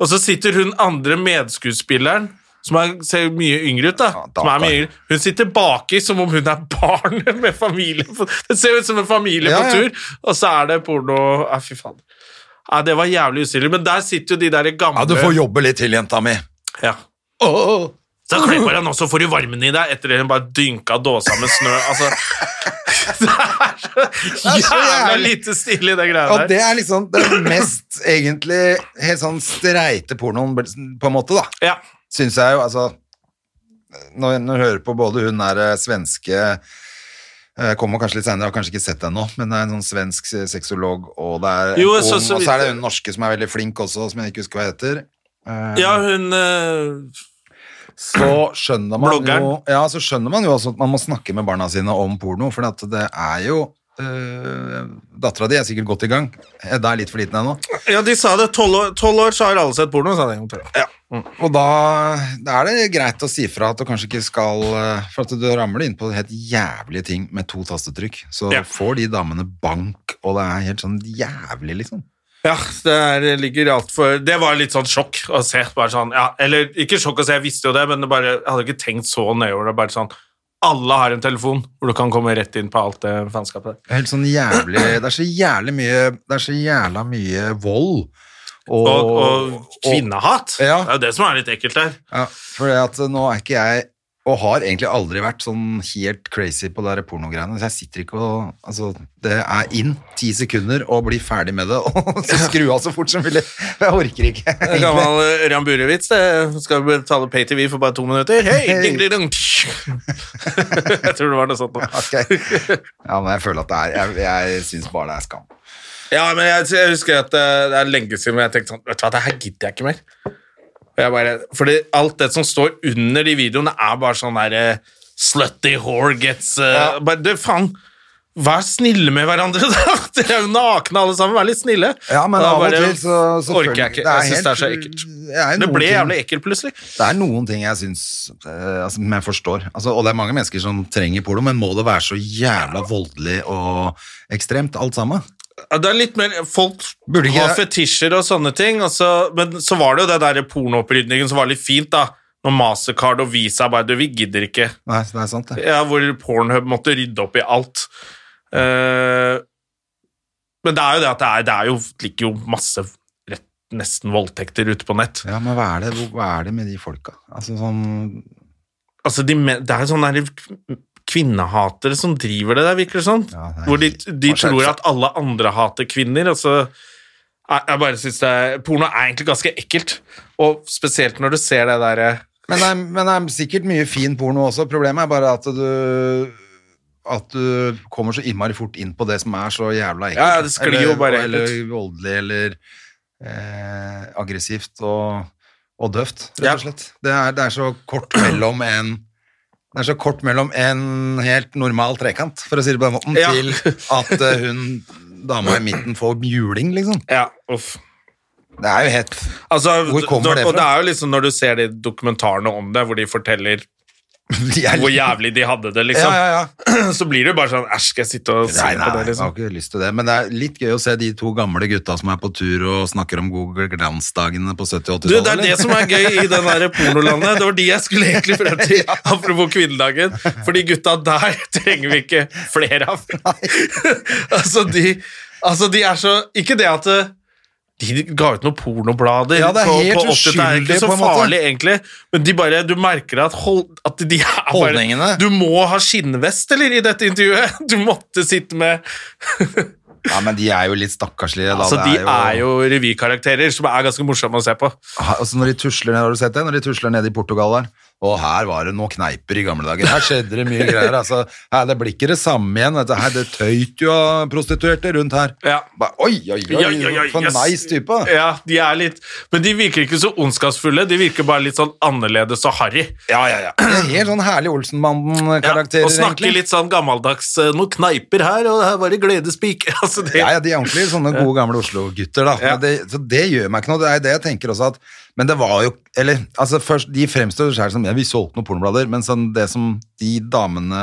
og så sitter hun andre medskuespilleren som er, ser mye yngre ut, da.
Ja, da
som er mye
kan-
yngre. Hun sitter baki som om hun er barn med familie. på- Det ser ut som en familie
Ja,
på
ja.
tur, og så er det porno Ja, fy faen. Ja, det var jævlig ustilig. Men der sitter jo de der gamle
Ja, du får jobbe litt til, jenta mi.
Ja. Så klipper den, og så får du varmen i deg etter at hun bare dynka dåsa med snø. Altså, det er så
er så
jævla
jævlig.
lite stille, det greia
Og
der.
det er liksom den mest egentlig helt sånn streite pornoen, på en måte, da.
Ja.
Syns jeg jo, altså Når når jeg hører på både hun der eh, svenske eh, Kommer kanskje litt senere, jeg har kanskje ikke sett henne nå, men det er en sånn svensk eh, sexolog, og det er en
Jo,
ung,
så- så
og så er det
vidt-
hun norske som er veldig flink også, som jeg ikke husker hva heter.
ja, hun eh,
Så skjønner man jo
Bloggeren.
Ja, så skjønner man jo også at man må snakke med barna sine om porno, for at det er jo øh, Dattera di er sikkert godt i gang. Edda er litt for liten ennå.
Ja, de sa det. Tolv år, 12 år så har alle sett porno, sa de.
Og da, da er det greit å si fra at du kanskje ikke skal eh, For at du ramler inn på helt jævlige ting med to tastetrykk. Så
Ja.
får de damene bank, og det er helt sånn jævlig, liksom.
Ja, det er, ligger altfor Det var litt sånn sjokk å se. Bare sånn, ja, eller ikke sjokk å se, jeg visste jo det, men det bare, jeg hadde ikke tenkt så nøye over det. Bare sånn Alle har en telefon hvor du kan komme rett inn på alt det faenskapet der.
Helt sånn jævlig Det er så jævlig mye Det er så jævla mye vold. Og,
Og, og kvinnehat.
Ja.
Det er jo det som er litt ekkelt der.
Ja, for det at nå er ikke jeg og har egentlig aldri vært sånn helt crazy på det der pornogreiene. Så jeg sitter ikke og Altså, det er inn ti sekunder og bli ferdig med det, og så skru av så fort som mulig. Jeg orker ikke.
En Gammel eh, Ørjan Burevits, det skal vi betale pay-tv for bare to minutter. Hei,
Hei.
ding, ding, ding. Jeg tror det var noe sånt. nå.
Ok. Ja, men jeg føler at det er Jeg, jeg syns bare det er skam.
Ja, men jeg, jeg husker at eh, det er lenge siden jeg tenkte sånn, vet du hva, det her gidder jeg ikke mer. Og jeg bare, fordi alt det som står under de videoene er bare sånn der eh, slutty whore gets... eh, Bare, det faen, vær snille med hverandre da. Dere er jo nakne alle sammen, vær litt snille.
Ja, men
Da
av og
bare
til så, så føler-
orker jeg ikke. Jeg synes det er så
helt-
ekkelt.
Det, er jo
Det
noen
ble
ting-
jævlig ekkelt plutselig.
Det er noen ting jeg syns eh, altså, som jeg forstår. Altså, og det er mange mennesker som trenger porno, men må det være så jævla voldelig og ekstremt, alt sammen?
Ja, Det er litt mer, Folk
Burde ikke
har
det?
fetisjer og sånne ting, og så, men så var det jo det der pornoopprydningen som var litt fint, da. Når Mastercard og Visa bare Du, vi gidder ikke.
Nei, det er sant, det.
Ja, hvor Pornhub måtte rydde opp i alt. Eh, men det er jo det at det, er, det er jo, ligger jo masse rett, nesten voldtekter ute på nett.
Ja, men hva er det, hvor- hva er det med de folka? Altså sånn
Altså, de, men- Det er jo sånne der kvinnehatere som driver det der, virker det som.
Ja, det er-
hvor de, de
må skjerpe
tror
seg.
at alle andre hater kvinner. Altså, jeg, jeg bare synes det er, Porno er egentlig ganske ekkelt, og spesielt når du ser det derre
men det, er, men det er sikkert mye fin porno også. Problemet er bare at du at du kommer så innmari fort inn på det som er så jævla ekkelt.
Ja, ja, det sklir
eller,
jo bare helt
Eller
ut.
voldelig, eller eh, aggressivt og, og døvt, rett
Ja.
og slett. Det, er, det er så kort mellom en det er så kort mellom en helt normal trekant, for å si det på den måten,
Ja.
til at eh, hun dama i midten får juling, liksom.
Ja, uff.
Det er jo helt
Altså,
Hvor kommer det
Og det
fra?
er jo liksom når du ser de dokumentarene om det, hvor de forteller
de er-
hvor jævlig de hadde det,
Ja,
liksom.
ja, ja.
Så blir det jo bare sånn Æsj, skal jeg sitte og se
Nei, nei,
på det,
jeg har
liksom?
ikke lyst til det. Men det er litt gøy å se de to gamle gutta som er på tur og snakker om Google Glans-dagene på 70- og
Du, det er
80-tallet.
det som er gøy i den der pornolandet. Det var de jeg skulle egentlig frem til. Apropos kvinnedagen. For de gutta der trenger vi ikke flere av. altså, de, altså, de er så Ikke det at eh, de ga ut noen pornoblader
Ja, det er
på,
helt
på 80-tallet. Det er
uskyldig,
ikke så
på en måte.
farlig, egentlig. Men de bare, du merker at, hold, at de er bare
Holdningene.
Du må ha skinnvest, eller, i dette intervjuet. Du måtte sitte med
Ja, men de er jo litt stakkarslige. Da.
Altså,
Det
de er jo revykarakterer som er ganske morsomme å se på.
Ha- altså, Når de tusler ned, har du sett det? Når de tusler ned i Portugal der, Og her var det noen kneiper i gamle dager. Her skjedde det mye greier. Altså, her, det blir ikke det samme igjen. Dette her, det tøyt jo av prostituerte rundt her.
Ja.
Ba, oi, oi, oi,
Ja, ja, ja,
for
yes.
nice type. da.
Ja, de er litt Men de virker ikke så ondskapsfulle, de virker bare litt sånn annerledes og harry.
Ja, ja, ja. Helt sånn herlig
Ja,
Olsenbanden-karakterer,
og snakker litt sånn gammeldags eh, Noen kneiper her, og her var det gledespiker. Altså, det,
Ja, ja, de er ordentlig sånne gode gamle Oslo-gutter, da.
Ja.
Men Det, så det gjør meg ikke noe. Det er det jeg tenker også at Men det var jo Eller altså, først De fremstår selv som ja, Vi solgte noen pornoblader, men sånn det som de damene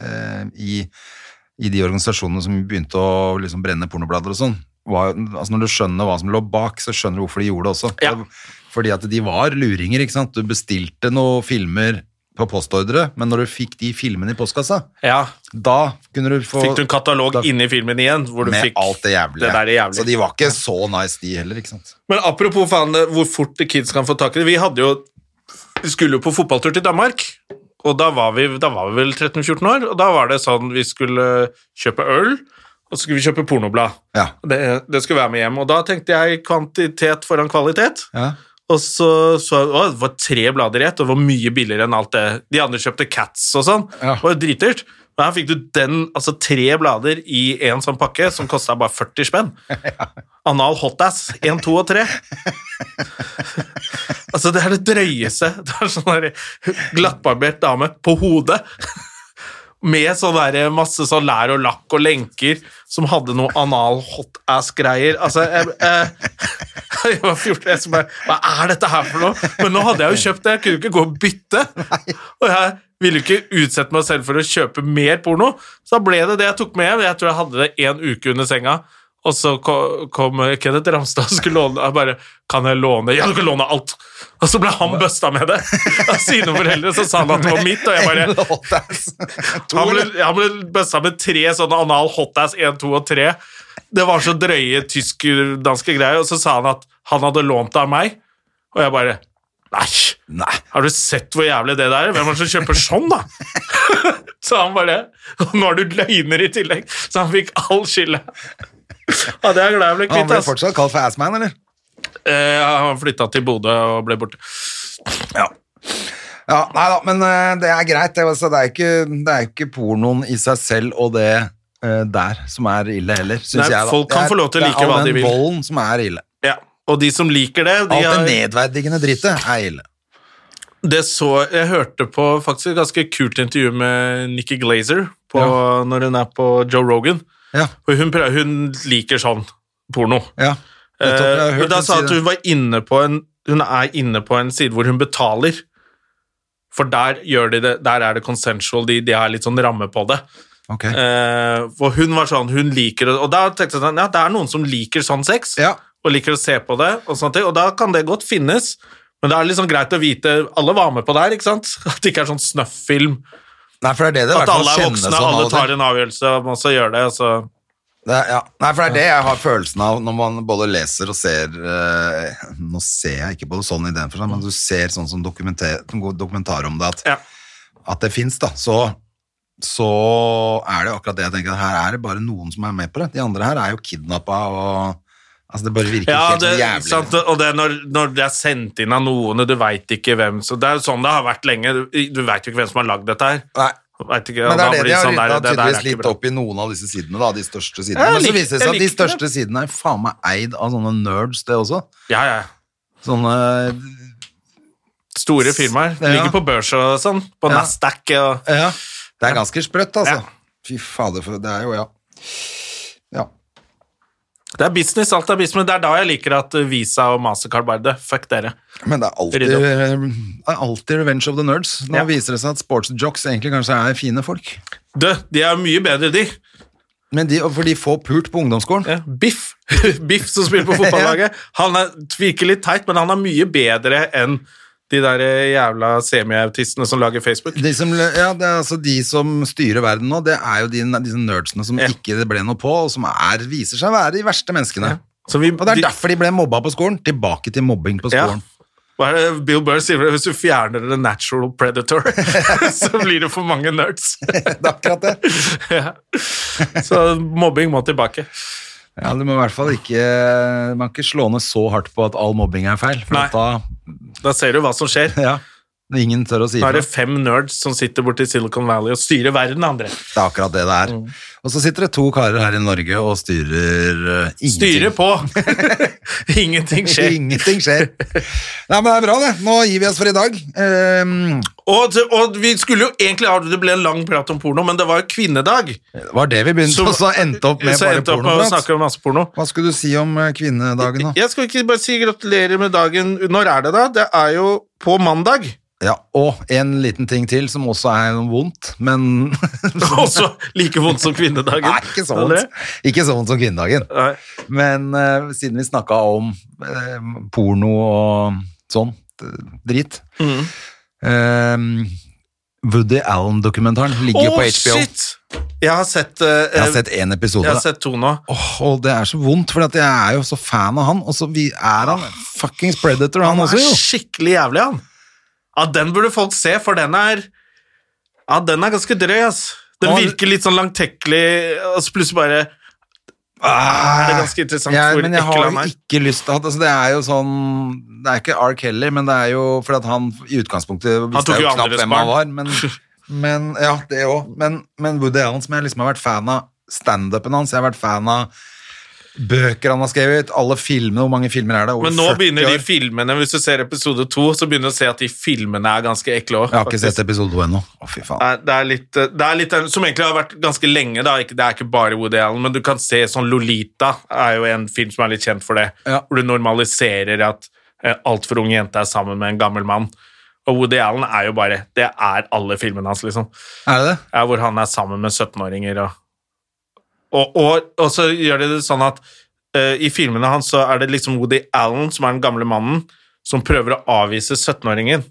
eh, i, i de organisasjonene som begynte å liksom brenne pornoblader og sånn var, jo- altså Når du skjønner hva som lå bak, så skjønner du hvorfor de gjorde det også.
Ja.
Fordi at de var luringer, ikke sant. Du bestilte noen filmer på postordre, men når du fikk de filmene i postkassa,
ja.
da kunne du få
Fikk du en katalog
Da-
inni filmen igjen? Hvor du
med
fikk
alt det jævlige.
det der det jævlige.
Så de var ikke så nice, de heller. ikke sant?
Men apropos faen, det- hvor fort kids kan få tak i det. Vi hadde jo, vi skulle jo på fotballtur til Danmark, og da var vi, da var vi vel 13-14 år, og da var det sånn vi skulle kjøpe øl, og så skulle vi kjøpe pornoblad.
Ja.
Det, det skulle være med hjem, og da tenkte jeg kvantitet foran kvalitet.
Ja.
Og så så jeg å, det var tre blader i ett, og det var mye billigere enn alt det. De andre kjøpte Cats og sånn.
Ja.
Det var jo dritdyrt. Men her fikk du den, altså tre blader i en sånn pakke som kosta bare 40 spenn. Anal hotass. 1, 2 og 3. altså, det er det drøyeste. Det er sånn der glattbarbert dame på hodet. Med sånn der, masse sånn lær og lakk og lenker som hadde noe anal hotass-greier. Altså, jeg, jeg, jeg var 14 jeg så bare, Hva er dette her for noe? Men nå hadde jeg jo kjøpt det, jeg kunne jo ikke gå og bytte. Og jeg ville jo ikke utsette meg selv for å kjøpe mer porno, så da ble det det jeg tok med hjem. Jeg tror jeg hadde det en uke under senga. Og så ko- kom Kenneth Ramstad og skulle låne. Jeg bare Kan jeg låne? Ja, du kan låne alt! Og så ble han busta med det. Av sine foreldre så sa han at det var mitt, og jeg bare
Hotass. To,
han ble,
eller?
han ble bussa med tre sånne anal hotass 1, 2 og 3. Det var så drøye tysk-danske greier, og så sa han at han hadde lånt det av meg. Og jeg bare Nei!
Nei.
Har du sett hvor jævlig det der er? Hvem er det som kjøper sånn, da? Så han bare Og nå er du løgner i tillegg! Så han fikk all skylda. Ja, det er jeg glad jeg ble
Han
kvitt.
ble
ass.
fortsatt kalt for Assman, eller?
Eh, han flytta til Bodø og ble borte.
Ja. ja. Nei da, men eh, det er greit. Det, altså, det, er ikke, det er ikke pornoen i seg selv og det eh, der som er ille, heller. Syns
Nei,
jeg, da.
folk
Det
kan
er-
få lov til å like hva de vil.
Det er all den volden som er ille.
Ja. Og de som liker det, de
Alt det
har-
nedverdigende drittet er ille.
Det så, jeg hørte på faktisk et ganske kult intervju med Nikki Glazer på, når hun er på Joe Rogan.
Ja.
Og hun, prøver, hun liker sånn porno.
ja. Nettopp, jeg har
Eh,
hørt
men da
hun
sa
si
at
det.
hun var inne på en Hun er inne på en side hvor hun betaler. For der, gjør de det, der er det consensual, de, de har litt sånn ramme på det.
Ok.
Eh, for hun var sånn, hun liker det Og da tenkte jeg sånn, ja, det er noen som liker sånn sex
Ja.
og liker å se på det, og sånne ting, og da kan det godt finnes. Men det er liksom greit å vite Alle var med på det her, ikke sant? At det ikke er sånn snøff-film.
Nei, for det er det det i
At
hvert fall
alle er
kjennes
voksne,
som av
alle
og til.
tar en avgjørelse og man så gjør det. og så-
Det er, ja. Nei, for det er det jeg har følelsen av når man både leser og ser eh, Nå ser jeg ikke på det sånn i den forstand, men du ser sånn som dokumenter, som går dokumentar om det, at,
Ja.
at det fins, da. Så, så er det jo akkurat det jeg tenker. at Her er det bare noen som er med på det. De andre her er jo kidnappa og Altså, det bare virker
Ja,
helt
det, ikke
jævlig.
sant? Og det er når, når det er sendt inn av noen, og du veit ikke hvem så Det er jo sånn det har vært lenge. Du, du veit jo ikke hvem som har lagd dette her.
Nei.
Vet ikke, og
Men det
da
er det
blir
de har
sånn der,
rydda
det der er
tydeligvis
ikke
litt
bra.
opp i noen av disse sidene, da. De største sidene.
Jeg
Men så
likte-
viser det seg at
jeg
de
likte
største sidene er faen meg eid av sånne nerds, det også.
Ja, ja.
Sånne
Store firmaer.
Ja.
Ligger på børs og sånn. På
Ja.
Nasdaq og
Ja. Det er ganske sprøtt, altså.
Ja.
Fy fader, for det er jo ja. Ja.
Det er business, alt er business. men Det er da jeg liker at Visa og Mastercard bare det. Fuck dere.
Men det er alltid, eh,
Rydde
det er alltid revenge of the nerds. Nå
Ja.
viser det seg at sportsjocks egentlig kanskje er fine folk.
Du, de er mye bedre, de.
Men de, for de får pult på ungdomsskolen.
Ja, Biff, Biff som spiller på fotballaget, han er, virker litt teit, men han er mye bedre enn de der jævla semiautistene som lager Facebook.
De som, ja, det er altså de som styrer verden nå, det er jo de, disse nerdsene som
Ja.
ikke det ble noe på, og som er, viser seg å være de verste menneskene.
Så vi,
Og det er
de,
derfor de ble mobba på skolen. Tilbake til mobbing på
Ja.
skolen.
hva er det Bill Burr sier vel, hvis du fjerner the natural predator, så blir det for mange nerds.
Det er akkurat det.
Ja. Så mobbing må tilbake.
Ja, du må i hvert fall ikke, man kan ikke slå ned så hardt på at all mobbing er feil. For
Nei.
at da
Da ser du hva som skjer.
Ja. Ingen tør å si
Nå er
det.
det fem nerds som sitter borte i Silicon Valley og styrer verden, André.
Det er akkurat det det er.
Mm.
Og så sitter det to karer her i Norge og styrer eh, ingenting.
Styrer på! Ingenting skjer.
Ingenting skjer. Nei, men det er bra, det. Nå gir vi oss for i dag. Ehm,
Og, og vi skulle jo egentlig ha det ble en lang prat om porno, men det var jo kvinnedag.
det var det vi begynte, og så endte opp med
så
bare
endte opp med å
pornoprat.
snakke om masse porno.
Hva skulle du si om eh, kvinnedagen, da?
Jeg skal ikke bare si gratulerer med dagen. Når er det, da? Det er jo på mandag.
Ja, Og en liten ting til som også er vondt, men
Også like vondt som kvinnedagen.
Nei, ikke så vondt. Ikke så vondt som kvinnedagen.
Nei.
Men eh, siden vi snakka om eh, porno og sånn eh, drit
Mm.
eh, Woody Allen-dokumentaren ligger jo
Å,
på HBO.
shit! Jeg har sett, eh,
Jeg har sett én episode.
jeg har sett to nå.
Åh, og det er så vondt, for jeg er jo så fan av han. Og så vi er han fuckings predator, han,
Han
også,
er
jo.
skikkelig jævlig, han. Ja, den burde folk se, for den er Ja, den er ganske drøy, ass. Den
Han-
virker litt sånn langtekkelig, og så plutselig bare
Ah,
Det er ganske interessant
jeg,
hvor
men jeg
ekkel
har
han
jo
er.
ikke lyst til at altså, Det er jo sånn Det er ikke R. Kelly, men det er jo fordi at han i utgangspunktet visste
tok
jeg
jo
jo knapt
andres
hvem han var.
barn.
Men, men ja, det òg. Men, men Woody Allen, som jeg liksom har vært fan av standupen hans, jeg har vært fan av bøker han har skrevet, alle filmene Hvor mange filmer er det? Over
Men nå
40
begynner de
år.
filmene Hvis du ser episode to, så begynner du å se at de filmene er ganske ekle òg.
Jeg har ikke sett episode to ennå. Å, fy faen.
Nei, det er litt, eh, det er litt Som egentlig har vært ganske lenge, da. Ikke, det er ikke bare Woody Allen, men du kan se sånn Lolita er jo en film som er litt kjent for det.
Ja.
Hvor du normaliserer at eh, altfor ung jente er sammen med en gammel mann. Og Woody Allen er jo bare Det er alle filmene hans, liksom.
Er det det?
Ja, hvor han er sammen med 17-åringer og og, og og så gjør de det sånn at eh, i filmene hans så er det liksom Woody Allen, som er den gamle mannen, som prøver å avvise 17-åringen.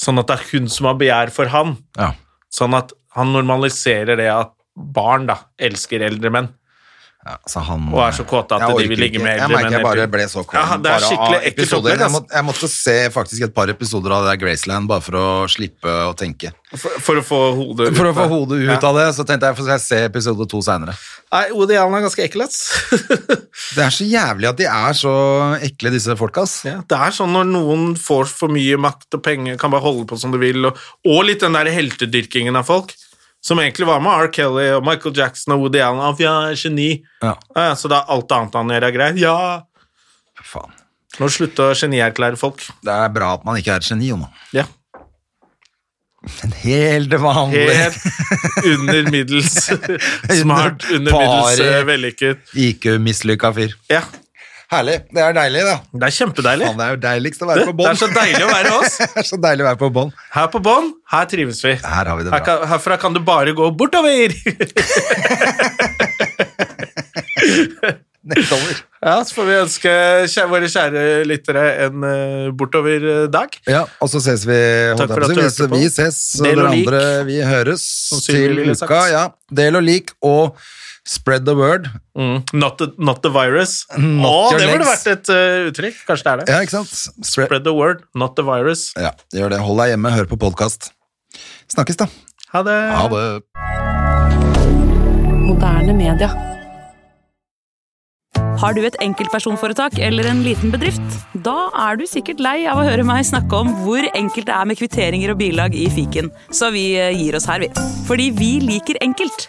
Sånn at det er hun som har begjær for han.
Ja.
Sånn at han normaliserer det at barn da, elsker eldre menn.
Ja, så han,
Og er så kåte at
Jeg
de
orker
vil ligge
ikke.
med eldre
Jeg merker
menn
jeg bare
hele tiden.
ble så kvalm
Ja, det er
bare av
skikkelig ekkelt
episoder.
opplegg,
Jeg,
ass.
måtte, jeg måtte se faktisk et par episoder av det der Graceland bare for å slippe å tenke.
For, for å få hodet ut
For å få
der.
hodet ut av det, så tenkte jeg får jeg se episode to seinere.
Nei, Woody Allen er ganske ekkel, ass.
Det er så jævlig at de er så ekle, disse folka, ass.
Ja, det er sånn når noen får for mye makt og penger, kan bare holde på som du vil, og, og litt den der heltedyrkingen av folk, som egentlig var med R. Kelly og Michael Jackson og Woody Allen, av ja, geni. Ah,
Ja.
Ja, ja, så da er alt annet han gjør er greit. Ja!
Fy Faen.
Nå slutter å genierklære folk.
Det er bra at man ikke er et geni, Jono.
Ja.
En helt vanlig
Helt under middels smart, under middels
Bare-
eh, vellykket.
IQ-mislykka fyr.
Ja,
Herlig. Det er deilig, da.
det er kjempedeilig.
Faen, det er jo deiligst å
Det,
være på
det
bånn.
er så deilig å være oss.
Det er så deilig å være på bånn.
Her på bånn, her trives vi.
Her har vi det
Her
bra.
kan, herfra kan du bare gå bortover.
Nettover.
Ja, så får vi ønske kjæ- våre kjære lyttere en eh, bortover eh, dag.
Ja, og så ses vi. holdt jeg
for
på å
at
si. Vi-
du hørte på.
Vi ses, og
Del
dere
og lik.
andre vi høres
Sylvi
til
ville
uka.
sagt.
Ja, del og lik, og spread the word.
Not, the, not the virus.
Mm. Not
Å,
your
det burde
legs.
vært et eh, uttrykk. Kanskje det er det.
Ja, ikke sant? Spread.
Spread the word, not the virus.
Ja, gjør det. Hold deg hjemme, hør på podkast. Snakkes, da.
Ha det.
Ha det.
Moderne media.
Har du et enkeltpersonforetak eller en liten bedrift? Da er du sikkert lei av å høre meg snakke om hvor enkelt det er med kvitteringer og bilag i fiken, så vi eh, gir oss her, vi. Fordi vi liker enkelt.